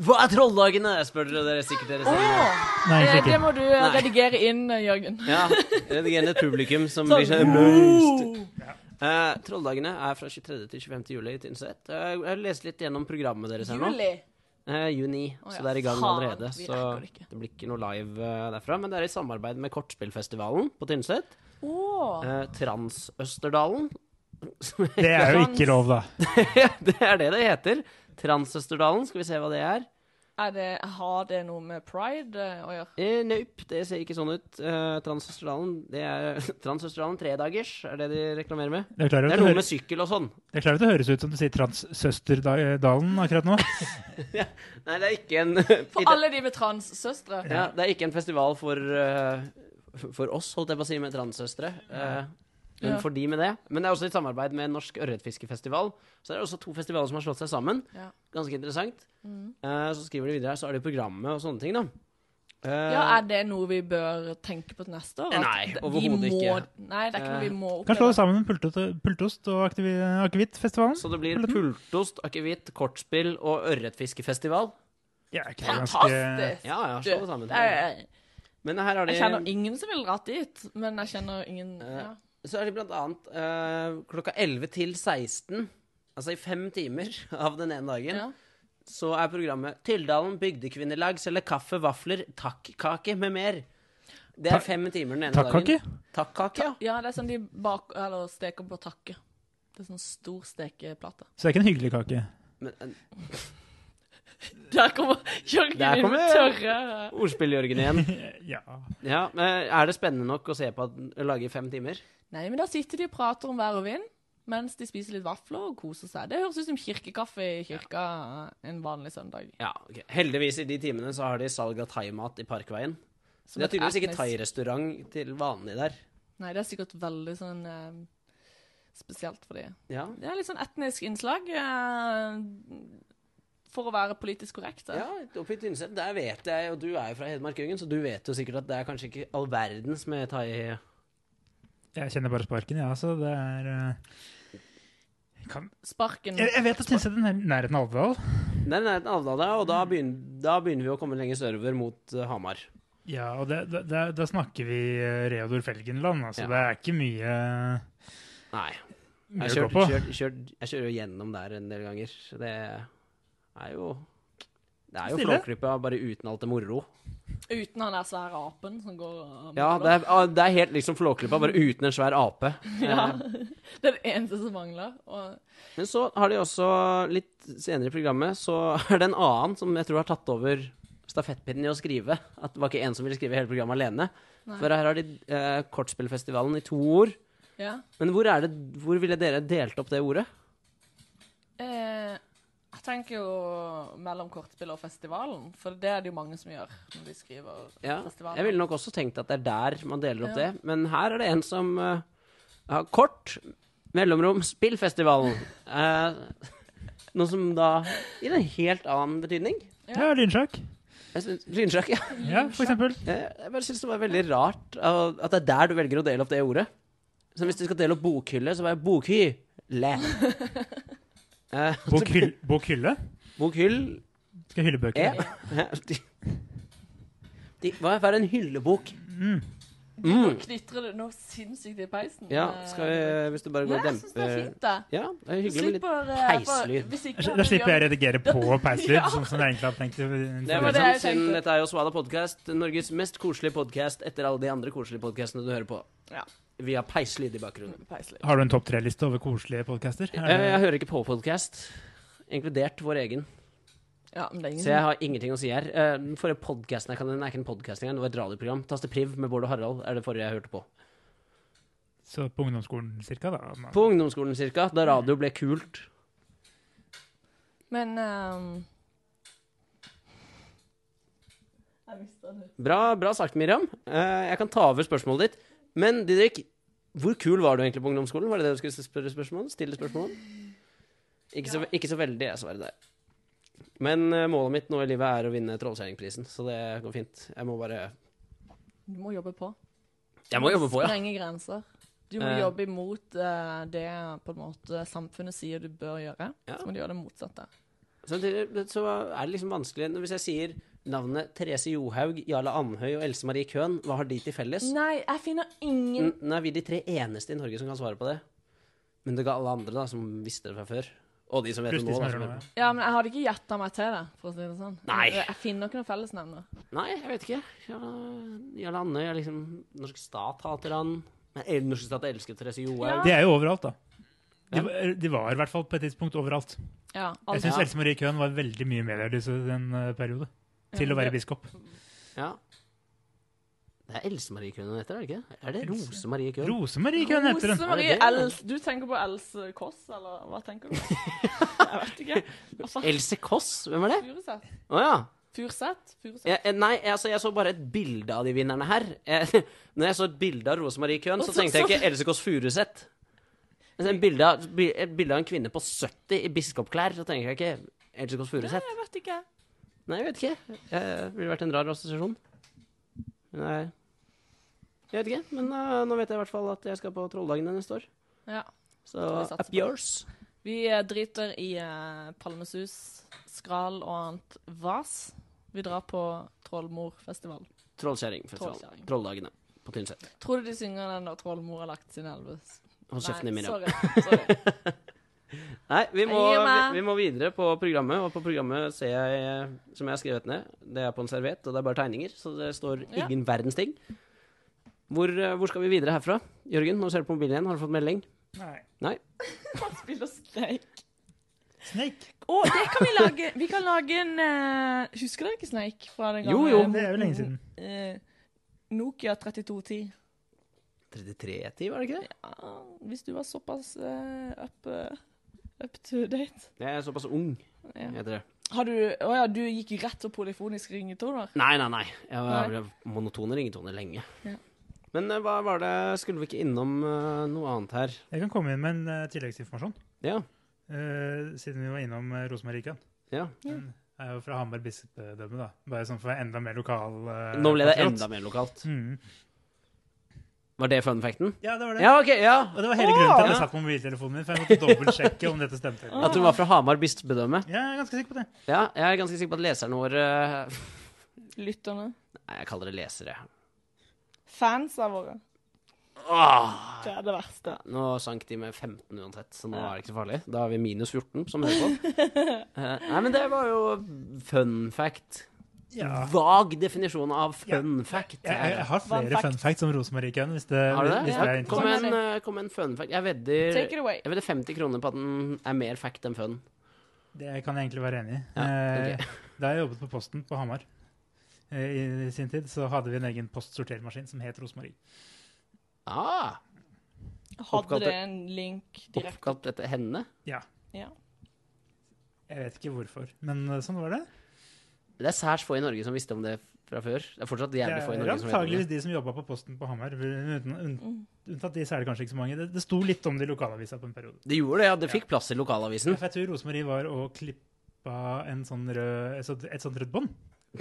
Speaker 1: Hva er Trolldagene? spør dere sikkert dere selv.
Speaker 3: Eh,
Speaker 4: Nei, egentlig
Speaker 3: det
Speaker 4: ikke.
Speaker 3: må du eh, redigere inn, eh, Jørgen.
Speaker 1: Ja, redigerende publikum som blir så
Speaker 3: Sånn.
Speaker 1: amazed. Eh, trolldagene er fra 23. til 25. juli i Tynset. Eh, jeg har lest litt gjennom programmet deres her nå.
Speaker 3: Juli.
Speaker 1: Eh, juni,
Speaker 3: Å
Speaker 1: så
Speaker 3: ja,
Speaker 1: det er i gang
Speaker 3: faen,
Speaker 1: allerede.
Speaker 3: vi
Speaker 1: Så
Speaker 3: rekker det ikke.
Speaker 1: det blir ikke noe live eh, derfra. Men det er i samarbeid med Kortspillfestivalen på Tynset.
Speaker 3: Åh.
Speaker 1: Eh, Transøsterdalen.
Speaker 4: det er jo
Speaker 3: Trans-
Speaker 4: ikke lov, da.
Speaker 1: det er det det heter. Transøsterdalen, skal vi se hva det er.
Speaker 3: Er det, har det noe med pride eh, å gjøre?
Speaker 1: Eh, nope, det ser ikke sånn ut. Eh, Transøsterdalen det er Transøsterdalen tredagers er det de reklamerer med.
Speaker 4: Jeg klarer
Speaker 1: Det
Speaker 4: at
Speaker 1: er
Speaker 4: det,
Speaker 1: noe med
Speaker 4: høres,
Speaker 1: sykkel og sånn.
Speaker 4: jeg klarer at det høres ut som du sier Transsøsterdalen akkurat nå.
Speaker 1: Nei, det er ikke en
Speaker 3: For alle de med transsøstre?
Speaker 1: ja, Det er ikke en festival for, eh, for oss, holdt jeg på å si, med transsøstre. eh, men
Speaker 3: Ja.
Speaker 1: for de med det. Men det er også i samarbeid med Norsk ørretfiskefestival. Så det er også to festivaler som har slått seg sammen.
Speaker 3: Ja.
Speaker 1: Ganske interessant.
Speaker 3: Mm.
Speaker 1: Eh, så skriver de videre her, så er det jo programmet og sånne ting, da. Eh,
Speaker 3: Ja, Er det noe vi bør tenke på til neste år? At
Speaker 1: Nei,
Speaker 3: vi
Speaker 1: overhodet
Speaker 3: må-
Speaker 1: ikke.
Speaker 3: Nei, det er ikke noe vi må
Speaker 4: Kan slå
Speaker 3: oppleve.
Speaker 4: det sammen med Pultot- Pultost og Aktivi- Akevittfestivalen.
Speaker 1: Så det blir pultost, akevitt, kortspill og ørretfiskefestival.
Speaker 4: Ja, er ikke det ganske-
Speaker 3: Fantastisk!
Speaker 1: Ja, ja,
Speaker 3: Du,
Speaker 1: slå det sammen.
Speaker 3: jeg,
Speaker 1: Men her har de
Speaker 3: jeg kjenner ingen som ville dratt dit, men jeg kjenner ingen
Speaker 1: Eh,
Speaker 3: ja.
Speaker 1: Så er det blant annet eh, klokka 11 til 16, altså i fem timer av den ene dagen,
Speaker 3: Ja.
Speaker 1: så er programmet Tyldalen bygdekvinnelag selger kaffe, vafler, takkake med mer. Det
Speaker 4: Ta-
Speaker 1: er fem timer den ene
Speaker 4: Takkake?
Speaker 1: dagen. Takkake? ja.
Speaker 3: ja, det er sånn de bak, eller steker på takke. Det er sånn stor stekeplate.
Speaker 4: Så det er ikke en hyggelig kake.
Speaker 1: Men, eh,
Speaker 3: Der kommer Jørgen
Speaker 1: Der
Speaker 3: inn med
Speaker 1: kommer-
Speaker 3: tørre
Speaker 1: Ordspill, Jørgen, igjen.
Speaker 4: Ja.
Speaker 1: Ja, men er det spennende nok å se på at å lage i fem timer?
Speaker 3: Nei, men da sitter de og prater om vær og vind mens de spiser litt vafler og koser seg. Det høres ut som kirkekaffe i kirka en vanlig søndag.
Speaker 1: Ja, ok. Heldigvis i de timene så har de salg av thaimat i Parkveien.
Speaker 3: Som
Speaker 1: Det er
Speaker 3: et
Speaker 1: tydeligvis ikke
Speaker 3: etnisk-
Speaker 1: thai-restaurant til vanlig der.
Speaker 3: Nei, det er sikkert veldig sånn eh, spesielt for de.
Speaker 1: Ja,
Speaker 3: Det er litt sånn etnisk innslag eh, for å være politisk korrekt. eh.
Speaker 1: Ja, oppe i Tynset, der vet jeg, og du er jo fra Hedmarkungen, så du vet jo sikkert at det er kanskje ikke all verdens med thai...
Speaker 4: Jeg kjenner bare sparken, ja, så det er eh, kan,
Speaker 3: Sparken
Speaker 4: jeg, jeg vet at Tynset er nær- nærheten av Alvdal.
Speaker 1: Det er nærheten av Alvdal, og da begynner, da begynner vi å komme lenger sørover mot eh, Hamar.
Speaker 4: Ja, og det, det, det, da snakker vi eh, Reodor Felgenland, altså.
Speaker 1: Ja.
Speaker 4: Det er ikke mye,
Speaker 1: Nei,
Speaker 4: mye
Speaker 1: jeg
Speaker 4: å gå
Speaker 1: kjører,
Speaker 4: på.
Speaker 1: kjører, kjører, jeg kjører jo gjennom der en del ganger. Det er jo... Det er jo
Speaker 4: Stille.
Speaker 1: flåklypa, bare uten alt det moro.
Speaker 3: uten han der svære apen som går og
Speaker 1: Ja, det er, ah, det er helt liksom flåklypa, bare uten en svær ape.
Speaker 3: Ja.
Speaker 1: Eh,
Speaker 3: Det er det eneste som mangler. Og
Speaker 1: Men så har de også, litt senere i programmet, så er det en annen som jeg tror har tatt over stafettpinnen i å skrive. At det var ikke en som ville skrive hele programmet alene.
Speaker 3: Nei.
Speaker 1: For her har de eh, Kortspillfestivalen i to ord.
Speaker 3: ja.
Speaker 1: Men hvor, er det, hvor ville dere delt opp det ordet?
Speaker 3: Eh, jeg tenker jo mellom kortspill og festivalen, for det er det jo mange som gjør når de skriver
Speaker 1: Ja,
Speaker 3: festivalen.
Speaker 1: jeg ville nok også tenkt at det er der man deler opp
Speaker 3: Ja.
Speaker 1: det. Men her er det en som eh, har kort mellomrom spillfestivalen. Eh, noe som da gir en helt annen betydning.
Speaker 4: Ja, lynsjakk.
Speaker 1: Jeg synes, lynsjakk, ja.
Speaker 4: Ja, for eksempel.
Speaker 1: Jeg jeg bare synes det var veldig rart uh, at det er der du velger å dele opp det ordet. Så hvis du skal dele opp bokhylle, så var jeg bokhylle. Eh,
Speaker 4: Bokhyll, bokhylle?
Speaker 1: Bokhyll
Speaker 4: Skal jeg hylle
Speaker 1: e.
Speaker 4: bøker?
Speaker 1: De, de, hva er en hyllebok? Mm.
Speaker 3: Knitrer det noe sinnssykt i peisen?
Speaker 1: Ja, skal vi, eh, hvis du bare går
Speaker 3: Nei,
Speaker 1: og
Speaker 3: Eh, jeg syns
Speaker 1: demper
Speaker 3: det er
Speaker 1: Eh,
Speaker 3: fint, det.
Speaker 1: Ja, det er
Speaker 3: Du
Speaker 1: hyggelig med litt
Speaker 3: slipper, eh,
Speaker 1: peislyd.
Speaker 3: for- hvis ikke
Speaker 4: Da
Speaker 3: hadde
Speaker 4: slipper jeg å
Speaker 3: vi-
Speaker 4: redigere på peislyd,
Speaker 3: Ja.
Speaker 4: sånn som jeg egentlig hadde tenkt. å- liksom.
Speaker 1: det
Speaker 3: var
Speaker 1: var
Speaker 3: det jeg
Speaker 1: siden
Speaker 3: tenkte.
Speaker 1: Dette er jo Svada podkast, Norges mest koselige podkast etter alle de andre koselige podkastene du hører på.
Speaker 3: Ja.
Speaker 1: Vi har peislyd i bakgrunnen.
Speaker 3: Peislyd.
Speaker 4: Har du en topp tre-liste over koselige podcaster? Eh, Er
Speaker 1: Jeg, jeg
Speaker 4: det-
Speaker 1: hører ikke på podkast, inkludert vår egen.
Speaker 3: Ja, men det er ingen
Speaker 1: Så jeg har ingenting å si her. Eh, Den forrige podcasten jeg kan den er ikke en podcast engang, det var et radioprogram. Tastepriv med Bård og Harald er det forrige jeg hørte på.
Speaker 4: Så på ungdomsskolen cirka, da.
Speaker 1: På ungdomsskolen cirka, da radio ble kult.
Speaker 3: Men ehm, Jeg mista det.
Speaker 1: Bra, bra sagt, Miriam. Eh, Jeg kan ta over spørsmålet ditt. Men Didrik, hvor kul var du egentlig på ungdomsskolen? Var det det du skulle spørre spørsmål? om? stille spørsmål om? Ikke, så, ikke så veldig, jeg svarer deg. Men eh, målet mitt nå i livet er å vinne Trollkjerringprisen, så det går fint. Jeg må bare
Speaker 3: Du må jobbe på.
Speaker 1: Jeg må jobbe på, ja.
Speaker 3: Sprenge grenser. Du må
Speaker 1: Eh.
Speaker 3: jobbe imot eh, det på en måte samfunnet sier du bør gjøre.
Speaker 1: Ja.
Speaker 3: Så må du gjøre det motsatte.
Speaker 1: Samtidig så er det liksom vanskelig Hvis jeg sier navnet Therese Johaug, Jarle Andhøy og Else Marie Køhn, hva har de til felles?
Speaker 3: Nei, jeg finner ingen
Speaker 1: N- Nå er vi de tre eneste i Norge som kan svare på det. Men det ga alle andre, da, som visste det fra før. Og de som vet det altså. nå.
Speaker 4: Plutselig
Speaker 1: Da,
Speaker 4: smører
Speaker 1: som
Speaker 4: noe.
Speaker 1: vet det.
Speaker 3: Ja, men jeg hadde ikke gjetta meg til det, for å si det sånn.
Speaker 1: Nei.
Speaker 3: Jeg jeg finner ikke noen fellesnevner.
Speaker 1: Nei, jeg vet ikke. Jarle- Jarle Andhøy er liksom Norsk stat hater han. Nei, el- Norsk stat elsker Therese Johaug.
Speaker 3: Ja.
Speaker 4: De er jo overalt, da. De, var- eh, de var i hvert fall på et tidspunkt overalt.
Speaker 3: Ja, altså, alt.
Speaker 4: Jeg syns
Speaker 1: Ja.
Speaker 4: Else Marie Køhn var veldig mye i medielyset i den eh, periode. Til å være biskop.
Speaker 1: Ja. Det er Else Marie Køhn hun heter, er det ikke? Er det Rose Marie Køhn?
Speaker 4: Rose Marie Køhn heter hun!
Speaker 3: Rose Marie
Speaker 1: Er det det?
Speaker 3: Els Du tenker på Else Kåss, eller hva tenker du? Jeg vet ikke. Altså,
Speaker 1: Else Kåss, hvem er det?
Speaker 3: Furuseth.
Speaker 1: Å ja.
Speaker 3: Furuseth? Furuseth.
Speaker 1: Jeg, eh, nei, altså, jeg så bare et bilde av de vinnerne her. Eh, Når jeg så et bilde av Rose Marie Køhn, så
Speaker 3: Og så-
Speaker 1: tenkte jeg ikke Else Kåss Furuseth. Men så en bilde av- bi- Et bilde av en kvinne på 70 i biskopklær, så tenker jeg ikke Else Kås Furuseth.
Speaker 3: Jeg vet ikke.
Speaker 1: Nei, jeg vet ikke. Det ville vært en rar assosiasjon. Nei. Jeg vet ikke, men eh, nå vet jeg i hvert fall at jeg skal på Trolldagene neste år.
Speaker 3: Ja.
Speaker 1: Så
Speaker 3: vi satse
Speaker 1: up
Speaker 3: på.
Speaker 1: yours.
Speaker 3: Vi eh, driter i eh, palmesus, skral og annet vas. Vi drar på Trollmorfestival.
Speaker 1: Trollkjerringfestivalen.
Speaker 3: Trollkjerring.
Speaker 1: Trolldagene på Tynset.
Speaker 3: Tror du de synger den da Trollmor har lagt sin elve?
Speaker 1: Hold kjeften din, Miriam.
Speaker 3: sorry. sorry.
Speaker 1: Nei, vi må,
Speaker 3: Jeg gir
Speaker 1: vi,
Speaker 3: meg.
Speaker 1: vi må videre på programmet, og på programmet ser jeg, eh, som jeg har skrevet ned, det er på en serviett, og det er bare tegninger, så det står
Speaker 3: Ja.
Speaker 1: ingen verdens ting. Hvor, eh, hvor skal vi videre herfra? Jørgen, nå ser du på mobilen igjen, har du fått melding?
Speaker 4: Nei.
Speaker 1: Nei?
Speaker 3: Han spiller Snake.
Speaker 4: Snake.
Speaker 3: Å, det kan vi lage! Vi kan lage en eh, Husker dere ikke Snake? Fra den
Speaker 1: Jo, jo.
Speaker 4: Det er jo lenge siden.
Speaker 3: eh, Nokia 3210.
Speaker 1: 33-tid, var det ikke det?
Speaker 3: Ja, hvis du var såpass eh, up, eh, up to date.
Speaker 1: Jeg er såpass ung,
Speaker 3: Ja.
Speaker 1: heter det.
Speaker 3: Har du Å ja, du gikk rett på polifonisk ringetoner?
Speaker 1: Nei, nei, nei. Jeg var
Speaker 3: Nei.
Speaker 1: monotone ringetoner lenge.
Speaker 3: Ja.
Speaker 1: Men eh, hva var det, skulle vi ikke innom eh, noe annet her?
Speaker 4: Jeg kan komme inn med en eh, tilleggsinformasjon,
Speaker 1: Ja,
Speaker 4: eh, siden vi var innom eh, Rose Marie Køhn.
Speaker 1: ja.
Speaker 4: Jeg er jo fra Hamar bispedømme, da. Bare sånn for å være enda mer lokal. eh,
Speaker 1: Nå ble det
Speaker 4: patriot.
Speaker 1: enda mer lokalt.
Speaker 4: Mm.
Speaker 1: Var det fun facten?
Speaker 4: Ja, det var det.
Speaker 1: Ja, ok, ja.
Speaker 4: Og det var hele grunnen til at
Speaker 1: Ja.
Speaker 4: jeg satt på mobiltelefonen min, for jeg måtte dobbeltsjekke om dette stemte. eller ikke.
Speaker 1: At du var fra Hamar bispedømme.
Speaker 4: Ja, jeg er ganske sikker på det.
Speaker 1: Ja, jeg er ganske sikker på at leserne våre eh,
Speaker 3: Lytterne?
Speaker 1: Nei, jeg kaller det lesere.
Speaker 3: Fans av våre.
Speaker 1: Åh!
Speaker 4: Ah.
Speaker 3: Det er det verste.
Speaker 1: Nå sank de med 15 uansett, så nå er det ikke så farlig. Da har vi minus 14 som hører på. Eh, Nei, men det var jo fun fact.
Speaker 4: Ja.
Speaker 1: Vag definisjon av fun fact.
Speaker 4: Jeg, jeg, jeg har
Speaker 3: Fun
Speaker 4: flere
Speaker 3: fact.
Speaker 4: fun facts om Rosemarie Køhn, hvis det,
Speaker 1: Har du det?
Speaker 4: hvis det er
Speaker 1: Ja, kom,
Speaker 4: interessant.
Speaker 1: med en, eh, kom med en fun fact. Jeg vedder,
Speaker 3: Take it away.
Speaker 1: jeg vedder 50 kroner på at den er mer fact enn fun.
Speaker 4: Det kan jeg egentlig være enig i.
Speaker 1: Ja, ok.
Speaker 4: Eh, Da jeg jobbet på Posten på Hamar eh, i i sin tid, så hadde vi en egen postsortermaskin som het Rosemarie.
Speaker 1: Ah,
Speaker 3: Hadde
Speaker 1: Oppkalt-
Speaker 3: det en link direkte?
Speaker 1: oppkalt etter henne?
Speaker 4: Ja.
Speaker 3: Ja.
Speaker 4: Jeg vet ikke hvorfor, men eh, sånn var det.
Speaker 1: Det er særs få i Norge som visste om det fra før. Det er fortsatt
Speaker 4: Det
Speaker 1: jævlig få i
Speaker 4: er
Speaker 1: Norge som Mm. vet om det.
Speaker 4: antageligvis de som jobba på Posten på Hamar. Uten, unn, unntatt de så er det kanskje ikke så mange. Det, det sto litt om det i lokalavisa på en periode.
Speaker 1: Det gjorde det, ja. Det fikk plass i lokalavisen.
Speaker 4: For jeg tror Rosemarie var og klippa en sånn rød, et, sånt, et sånt rødt bånd.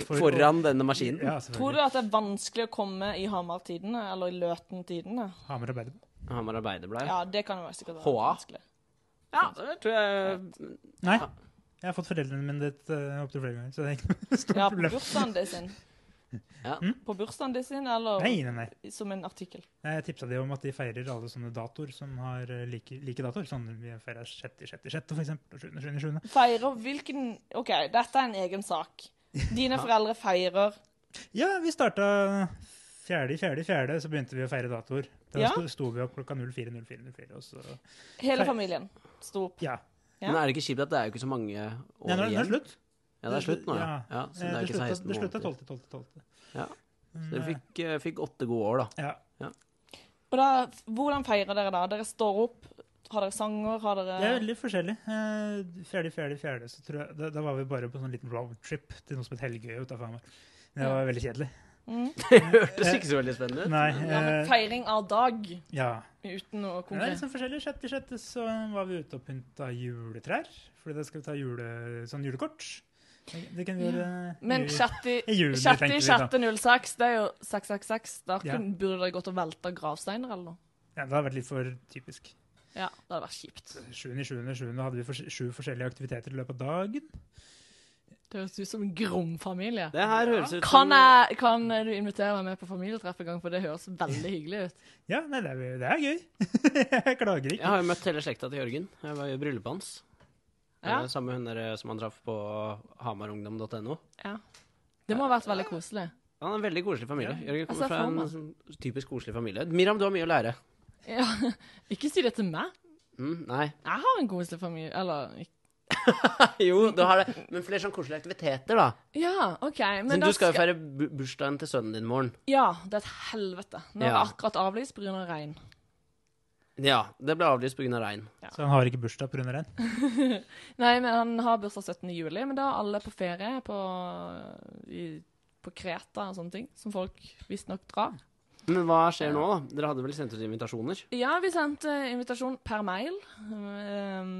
Speaker 4: For-
Speaker 1: Foran denne maskinen.
Speaker 4: Ja,
Speaker 3: Tror
Speaker 4: selvfølgelig.
Speaker 3: du at det er vanskelig å komme i Hamar-tidene, eller i Løten-tidene?
Speaker 4: Hamar Arbeiderblad.
Speaker 1: Hamar Arbeiderblad. Ja.
Speaker 3: Ja, det kan jo være sikkert være
Speaker 1: HA.
Speaker 3: vanskelig.
Speaker 1: ja, det tror jeg
Speaker 4: Nei. Jeg har fått foreldrene mine ditt uh, opptil flere ganger, så det er ikke noe stort
Speaker 3: Ja, på
Speaker 4: problem.
Speaker 3: bursdagen din sin.
Speaker 1: Ja.
Speaker 3: På bursdagen din sin, eller
Speaker 4: Nei, nei, nei.
Speaker 3: som en artikkel.
Speaker 4: Nei, Jeg tipsa de om at de feirer alle sånne datoer som har eh, like, like datoer. Sånn vi feirer 6., 6., 6., for eksempel, og 7., 7., 7.
Speaker 3: Feirer hvilken OK, dette er en egen sak. Dine foreldre feirer
Speaker 4: Ja, vi starta 4., 4., 4., så begynte vi å feire datoer. Da
Speaker 3: Ja.
Speaker 4: sto, sto vi opp klokka 04.04, 04, og så
Speaker 3: Hele
Speaker 4: Feir-
Speaker 3: familien sto opp.
Speaker 4: Ja.
Speaker 3: Ja.
Speaker 1: Men er det ikke kjipt at det er jo ikke så mange år
Speaker 4: Nei, nå, er- nå er det
Speaker 1: igjen?
Speaker 4: slutt.
Speaker 1: Ja, det er slutt nå, ja.
Speaker 4: Ja.
Speaker 1: ja så det
Speaker 4: Eh,
Speaker 1: er ikke 16
Speaker 4: slutta- det slutta
Speaker 1: måneder.
Speaker 4: 12. 12. 12.
Speaker 1: Ja.
Speaker 4: Men,
Speaker 1: Så dere
Speaker 4: eh,
Speaker 1: fikk, eh, fikk åtte gode år, da.
Speaker 4: ja.
Speaker 3: Og da, hvordan feirer dere da? Dere står opp, har dere sanger, har dere
Speaker 4: Det er veldig forskjellig. Eh, Fjerde, fjerde, fjerde, så tror jeg, da, da var vi bare på en sånn liten roadtrip til noe som het Helgøy utenfor Hamar. Det var veldig kjedelig.
Speaker 1: Det hørtes ikke så veldig spennende ut.
Speaker 4: Nei,
Speaker 3: ja, men
Speaker 4: eh,
Speaker 3: feiring av dag
Speaker 4: ja.
Speaker 3: uten noe
Speaker 4: Men Det er
Speaker 3: konkret.
Speaker 4: liksom forskjellig. Sjette, sjette så var vi ute og pynta juletrær. Fordi da skal vi ta jule, sånn julekort. Det kan vi gjøre eh,
Speaker 3: Men
Speaker 4: i-
Speaker 3: 60
Speaker 4: i juli, tenkte vi da.
Speaker 3: 6.06, det er jo 666. Da
Speaker 4: Ja.
Speaker 3: kun- burde dere gått og velta gravsteiner eller noe.
Speaker 4: Ja, det har vært litt for typisk.
Speaker 3: Ja, det hadde vært kjipt.
Speaker 4: Sjuende, sjuende, sjuende hadde vi fors- sju forskjellige aktiviteter i løpet av dagen.
Speaker 3: Det høres ut som en grom familie.
Speaker 1: Det her høres ut som
Speaker 3: Kan, jeg, kan du invitere meg med på familietreff en gang, for det høres veldig hyggelig ut.
Speaker 4: Ja, nei, det er, det er gøy. jeg klager
Speaker 1: Jeg
Speaker 4: ikke.
Speaker 1: har jo møtt hele slekta til Jørgen. Jeg var i bryllupet hans.
Speaker 3: Ja.
Speaker 1: Eh, Samme hun der eh, som han traff på hamarungdom.no.
Speaker 3: Ja. Det må ha vært veldig koselig.
Speaker 1: Han er en veldig koselig familie. Jørgen
Speaker 3: Altså,
Speaker 1: kommer fra
Speaker 3: for
Speaker 1: en
Speaker 3: meg.
Speaker 1: sånn typisk koselig familie. Miriam, du har mye å lære.
Speaker 3: Ja. Ikke si det til meg.
Speaker 1: Mm, nei.
Speaker 3: Jeg har en koselig familie. Eller ikke.
Speaker 1: Jo, du har det. Men flere sånn koselige aktiviteter, da.
Speaker 3: Ja, OK. Men
Speaker 1: Men
Speaker 3: da
Speaker 1: du skal jo feire bu- bursdagen til sønnen din i morgen.
Speaker 3: Ja, det er et helvete. Nå er det
Speaker 1: Ja.
Speaker 3: akkurat avlyst pga. Av regn.
Speaker 1: Ja, det ble avlyst pga. Av regn.
Speaker 4: Så han har ikke bursdag pga. regn?
Speaker 3: Nei, men han har bursdag 17. juli, men da er alle på ferie på, i, på Kreta og sånne ting, som folk visstnok drar.
Speaker 1: Men hva skjer nå, da? Dere hadde vel sendt ut invitasjoner?
Speaker 3: Ja, vi sendte invitasjon per mail. ehm,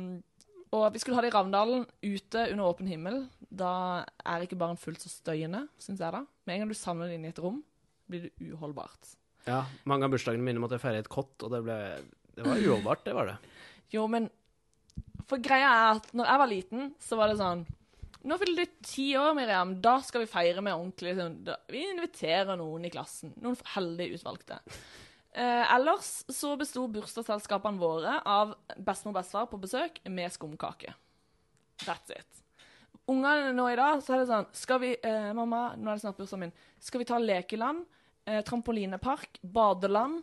Speaker 3: og vi skulle ha det i Ravndalen, ute under åpen himmel. Da er ikke barn fullt så støyende, syns jeg da. Med en gang du samler det inn i et rom, blir det uholdbart.
Speaker 1: Ja, Mange av bursdagene mine måtte jeg feire i et kott, og det ble Det var uholdbart, det var det.
Speaker 3: Jo, men For greia er at når jeg var liten, så var det sånn Nå fyller du ti år, Miriam. Da skal vi feire med ordentlig. Sånn, da, vi inviterer noen i klassen. Noen heldig utvalgte. Eh, ellers så besto bursdagsselskapene våre av bestemor og bestefar på besøk med skumkake. That's it. Ungene nå i dag, så er det sånn Skal vi eh, Mamma, nå er det snart bursdagen min. Skal vi ta lekeland, eh, trampolinepark, badeland,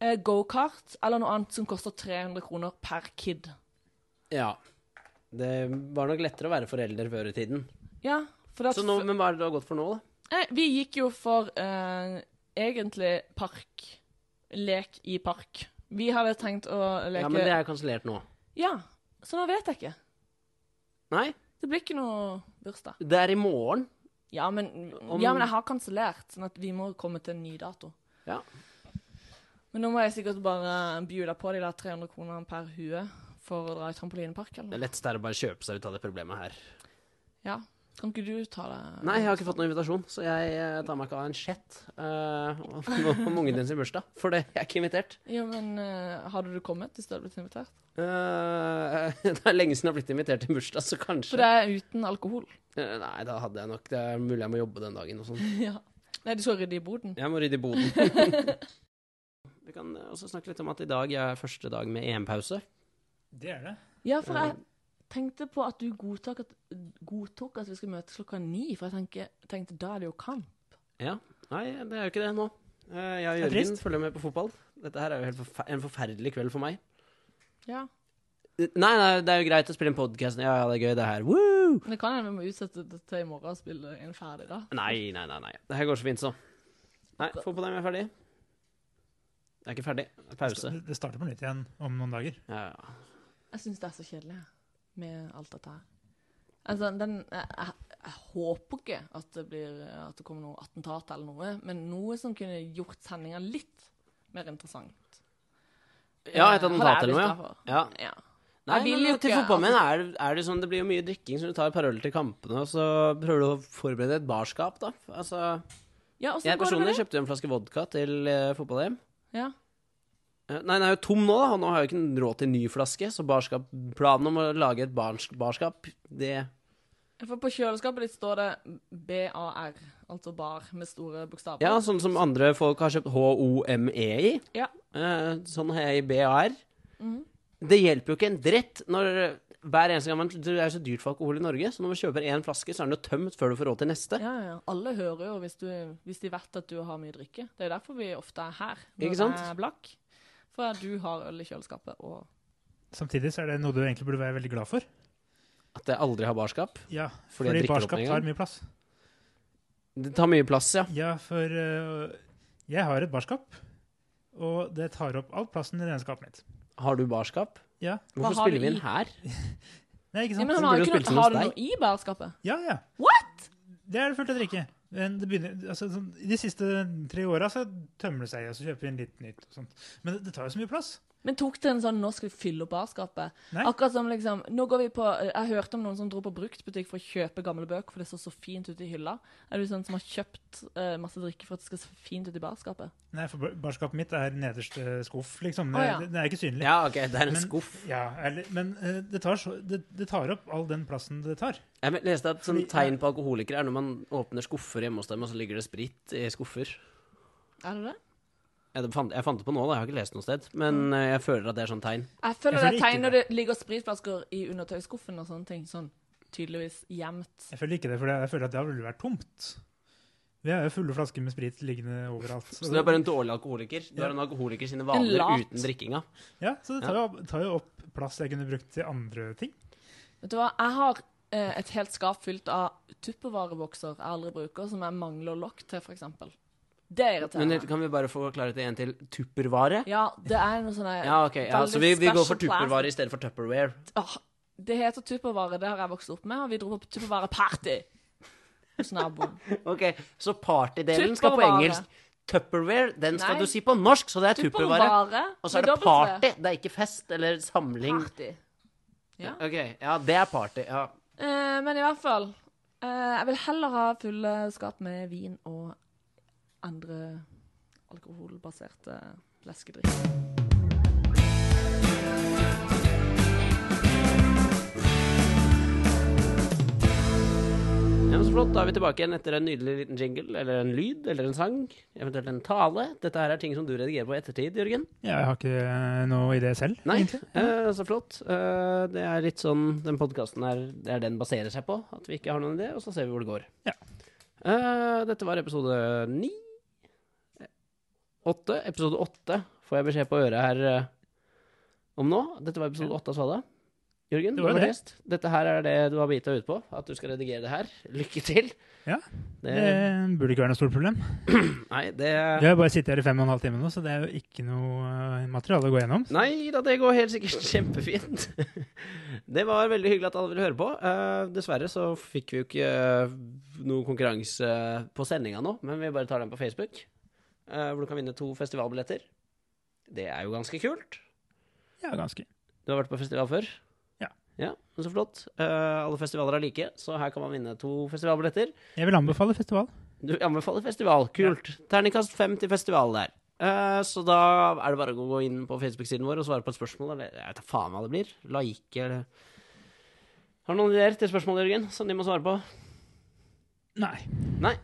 Speaker 3: eh, gokart eller noe annet som koster 300 kroner per kid?
Speaker 1: Ja. Det var nok lettere å være forelder før i tiden.
Speaker 3: Ja, for at
Speaker 1: Så nå, men hva er det du har gått for nå, da?
Speaker 3: Nei, Vi gikk jo for eh, egentlig park. Lek i park. Vi hadde tenkt å leke
Speaker 1: Ja, men det er kansellert nå.
Speaker 3: Ja, så nå vet jeg ikke.
Speaker 1: Nei,
Speaker 3: Det blir ikke noe bursdag.
Speaker 1: det er i morgen.
Speaker 3: Ja, men,
Speaker 1: Om-
Speaker 3: ja, men jeg har kansellert, sånn at vi må komme til en ny dato.
Speaker 1: Ja.
Speaker 3: Men nå må jeg sikkert bare by deg på de der 300 kronene per hue for å dra i trampolinepark,
Speaker 1: Det
Speaker 3: eller noe.
Speaker 1: letteste er å bare kjøpe seg ut av det problemet her.
Speaker 3: Ja. Kan ikke du ta det?
Speaker 1: Nei, jeg har ikke fått noen invitasjon, så jeg eh, tar meg ikke av en sjett eh, om ungen din sin bursdag. For det, jeg er ikke invitert.
Speaker 3: Jo, men eh, hadde du kommet hvis du hadde blitt invitert?
Speaker 1: Eh, det er lenge siden jeg har blitt invitert til bursdag, så kanskje
Speaker 3: For det er uten alkohol.
Speaker 1: Eh, Nei, da hadde jeg nok Det er mulig jeg må jobbe den dagen og sånn.
Speaker 3: ja. Nei, du skal rydde i boden.
Speaker 1: Jeg må rydde i boden. Vi kan eh, også snakke litt om at i dag er første dag med EM-pause.
Speaker 4: Det er det.
Speaker 3: Ja, for jeg tenkte på at du godtok at, godtok at vi skulle møte klokka ni, for jeg tenker, tenkte da er det jo kamp.
Speaker 1: Nei, det er jo ikke det nå. Eh, Jeg og
Speaker 4: Det er
Speaker 1: Jørgen
Speaker 4: trist.
Speaker 1: følger med på fotball. Dette her er jo helt forfe en forferdelig kveld for meg.
Speaker 3: Ja.
Speaker 1: Eh, Nei, nei, det er jo greit å spille en podkast. Ja, ja, det er gøy, det her. Woo!
Speaker 3: Men det kan hende vi må utsette det til i morgen og spille en ferdig, da.
Speaker 1: Nei, nei, nei. nei. Det her går så fint, så. Nei, få på dem, jeg er ferdig. Jeg er ikke ferdig. Det er Pause.
Speaker 4: Det starter på nytt igjen om noen dager.
Speaker 1: Ja, ja.
Speaker 3: Jeg syns det er så kjedelig med alt dette her. Altså, den, jeg, jeg, jeg håper ikke at det, blir, at det kommer noe attentat eller noe, men noe som kunne gjort sendinga litt mer interessant.
Speaker 1: ja et attentat eller
Speaker 3: Hadde jeg blitt
Speaker 1: noe,
Speaker 3: glad for.
Speaker 1: ja. ja.
Speaker 3: Ja.
Speaker 1: Nei,
Speaker 3: Jeg vil
Speaker 1: men
Speaker 3: jo
Speaker 1: til
Speaker 3: ikke
Speaker 1: fotballmenn er, det- er det sånn det blir jo mye drikking, så du tar et par øl til kampene, og så prøver du å forberede et barskap, da. Altså,
Speaker 3: Ja, og så
Speaker 1: jeg
Speaker 3: går det
Speaker 1: personlig
Speaker 3: med det.
Speaker 1: kjøpte jo en flaske vodka til eh, fotball-EM.
Speaker 3: Ja.
Speaker 1: Eh, Nei, den er jo tom nå, da. og Nå har jeg jo ikke råd til en ny flaske, så barskap, planen om å lage et barns, barskap, det
Speaker 3: For på kjøleskapet ditt står det BAR, altså bar, med store bokstaver.
Speaker 1: Ja, sånn som andre folk har kjøpt HOME E i.
Speaker 3: Ja.
Speaker 1: Eh, sånn har jeg i BAR.
Speaker 3: Mm.
Speaker 1: Det hjelper jo ikke en dritt når eh, hver eneste gang man, Det er jo så dyrt for alkohol i Norge, så når man kjøper én flaske, så er den jo tømt før du får råd til neste.
Speaker 3: Ja, ja. Alle hører jo hvis, du, hvis de vet at du har mye drikke. Det er derfor vi ofte er her når
Speaker 1: Ikke sant?
Speaker 3: jeg er blakk. For at du har øl i kjøleskapet og
Speaker 4: Samtidig så er det noe du egentlig burde være veldig glad for.
Speaker 1: At jeg aldri har barskap.
Speaker 4: Ja,
Speaker 1: Fordi jeg
Speaker 4: fordi
Speaker 1: drikker opp
Speaker 4: barskap
Speaker 1: med en gang.
Speaker 4: tar mye plass.
Speaker 1: Det tar mye plass, ja.
Speaker 4: Ja, for øh, jeg har et barskap, og det tar opp all plassen i regnskapet mitt.
Speaker 1: Har du barskap?
Speaker 4: Ja.
Speaker 1: Hvorfor
Speaker 3: har du
Speaker 1: spiller vi
Speaker 3: i?
Speaker 1: inn her?
Speaker 4: Nei, ikke
Speaker 3: ja, men han
Speaker 4: sant?
Speaker 1: så
Speaker 3: har,
Speaker 1: burde
Speaker 3: jo
Speaker 1: du
Speaker 3: ikke
Speaker 1: spilt
Speaker 3: noe,
Speaker 1: som
Speaker 3: har du
Speaker 1: hos
Speaker 3: noe i bærskapet?
Speaker 4: Ja, ja.
Speaker 3: What?!
Speaker 4: Det er det fullt å drikke. Men det begynner, altså, sånn, I de siste tre åra så tømmer det seg, og så kjøper vi inn litt nytt. og sånt. Men det, det tar jo så mye plass.
Speaker 3: Men tok det en sånn 'nå skal vi fylle opp barskapet'?
Speaker 4: Nei.
Speaker 3: Akkurat som liksom nå går vi på, Jeg hørte om noen som dro på bruktbutikk for å kjøpe gamle bøker, for det så så fint ut i hylla. Er du sånn som har kjøpt eh, masse drikke for at det skal se fint ut i barskapet?
Speaker 4: Nei, for bar- barskapet mitt er nederste skuff, liksom. Det,
Speaker 3: Å, ja.
Speaker 4: det, det er ikke synlig.
Speaker 1: Ja, OK, det er en
Speaker 4: Men-
Speaker 1: skuff.
Speaker 4: Ja, eller, men eh, det, tar så, det, det tar opp all den plassen det tar.
Speaker 1: Jeg men- leste at sånn
Speaker 4: Fordi-
Speaker 1: tegn på alkoholikere er når man åpner skuffer hjemme hos dem, og så ligger det sprit i skuffer.
Speaker 3: Er det det?
Speaker 1: Jeg fant, jeg fant det på nå, da. Jeg har ikke lest noe sted. Men
Speaker 3: Mm.
Speaker 1: eh, jeg føler at det er sånn tegn.
Speaker 3: Jeg føler det
Speaker 4: Jeg føler
Speaker 3: er
Speaker 4: ikke
Speaker 3: tegn når det
Speaker 4: det.
Speaker 3: ligger spritflasker i undertøyskuffen og sånne ting. Sånn tydeligvis gjemt.
Speaker 4: Jeg føler ikke det, for jeg føler at det har vel vært tomt. Vi har jo fulle flasker med sprit liggende overalt.
Speaker 1: Så du er bare en dårlig alkoholiker? Du
Speaker 4: Ja.
Speaker 1: er en alkoholiker sine
Speaker 3: En
Speaker 1: vaner
Speaker 3: lat.
Speaker 1: uten drikkinga?
Speaker 4: Ja, så det tar jo, opp- tar jo opp plass jeg kunne brukt til andre ting.
Speaker 3: Vet du hva, jeg har eh, et helt skap fylt av tuppevarebokser jeg aldri bruker, som jeg mangler lokk til, f.eks. Det er
Speaker 1: Men
Speaker 3: irriterende.
Speaker 1: kan vi bare få klarhet i en til? Tuppervare?
Speaker 3: Ja, det er noe sånn der-
Speaker 1: Ja, ok. Ja,
Speaker 3: veldig
Speaker 1: så vi, vi går for
Speaker 3: special class.
Speaker 1: tuppervare i stedet for tupperware.
Speaker 3: Åh, Det heter tuppervare, det har jeg vokst opp med, og vi dro på tuppervare-party hos naboen.
Speaker 1: Ok, Så partydelen skal på
Speaker 3: Tupperware.
Speaker 1: engelsk. Tupperware den skal
Speaker 3: Nei.
Speaker 1: du si på norsk, så det er tupperware. Og så er det
Speaker 3: med dobbelt V.
Speaker 1: party, det er ikke fest eller samling.
Speaker 3: Party. Ja.
Speaker 1: Ok, Ja, det er party. ja.
Speaker 3: Eh, men i hvert fall eh, Jeg vil heller ha fulle skap med vin og andre alkoholbaserte leskedrikker.
Speaker 1: Ja, men så flott, Da er vi tilbake igjen etter en nydelig liten jingle, eller en lyd, eller en sang, eventuelt en tale. Dette her er ting som du redigerer på i ettertid, Jørgen.
Speaker 4: Ja, jeg har ikke eh, noe idé selv.
Speaker 1: Nei,
Speaker 4: egentlig.
Speaker 1: eh, så flott. Eh, det er litt sånn den podkasten her, det er den baserer seg på. At vi ikke har noen idé, og så ser vi hvor det går.
Speaker 4: Ja.
Speaker 1: Eh, dette var episode ni. Eh, Åtte. Episode åtte får jeg beskjed på øret her eh, om nå. Dette var episode åtte av Svada. Jørgen,
Speaker 4: Det
Speaker 1: det
Speaker 4: var
Speaker 1: var
Speaker 4: det.
Speaker 1: gjest. Dette her er det du har bita ut på. At du skal redigere det her. Lykke til.
Speaker 4: Ja.
Speaker 1: Det,
Speaker 4: Det burde ikke være noe stort problem.
Speaker 1: nei, det
Speaker 4: Vi har bare sittet her i fem og en halv time nå, så det er jo ikke noe eh, materiale å gå gjennom.
Speaker 1: Nei da, det går helt sikkert kjempefint. Det var veldig hyggelig at alle ville høre på. Eh, dessverre så fikk vi jo ikke eh, noe konkurranse på sendinga nå, men vi bare tar den på Facebook. eh, hvor du kan vinne to festivalbilletter. Det er jo ganske kult.
Speaker 4: Ja, ganske.
Speaker 1: Du har vært på festival før?
Speaker 4: Ja.
Speaker 1: Ja, men Så flott. Eh, alle festivaler er like, så her kan man vinne to festivalbilletter.
Speaker 4: Jeg vil anbefale festival.
Speaker 1: Du anbefaler festival. Kult. Terningkast fem til festival der. Eh, så da er det bare å gå inn på Facebook-siden vår og svare på et spørsmål. Eller jeg vet da faen hva det blir. Like eller Har du noen ideer til spørsmål, Jørgen, som de må svare på?
Speaker 4: Nei.
Speaker 1: Nei.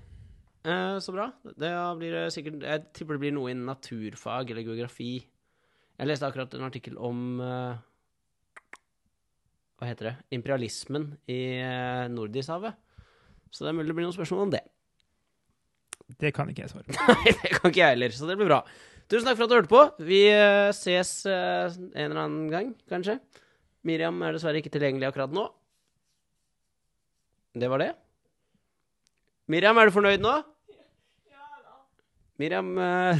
Speaker 1: Eh, så bra. Da blir det sikkert Jeg tipper det blir noe innen naturfag eller geografi. Jeg leste akkurat en artikkel om eh, Hva heter det? Imperialismen i eh, Nordishavet. Så det er mulig det blir noen spørsmål om det.
Speaker 4: Det kan ikke jeg svare på.
Speaker 1: Nei, det kan ikke jeg heller, så det blir bra. Tusen takk for at du hørte på. Vi eh, ses eh, en eller annen gang, kanskje. Miriam er dessverre ikke tilgjengelig akkurat nå. Det var det. Miriam, er du fornøyd nå? Miriam eh,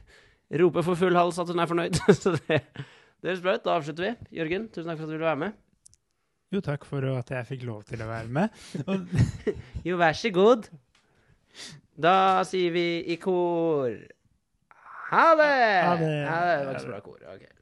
Speaker 1: roper for full hals at hun er fornøyd, så det, det høres bra ut. Da avslutter vi. Jørgen, tusen takk for at du ville være med.
Speaker 4: Jo, takk for at jeg fikk lov til å være med. Og
Speaker 1: Jo, vær så god. Da sier vi i kor Ha det!
Speaker 4: Ha det.
Speaker 1: Ja, det var ikke så bra kor. ok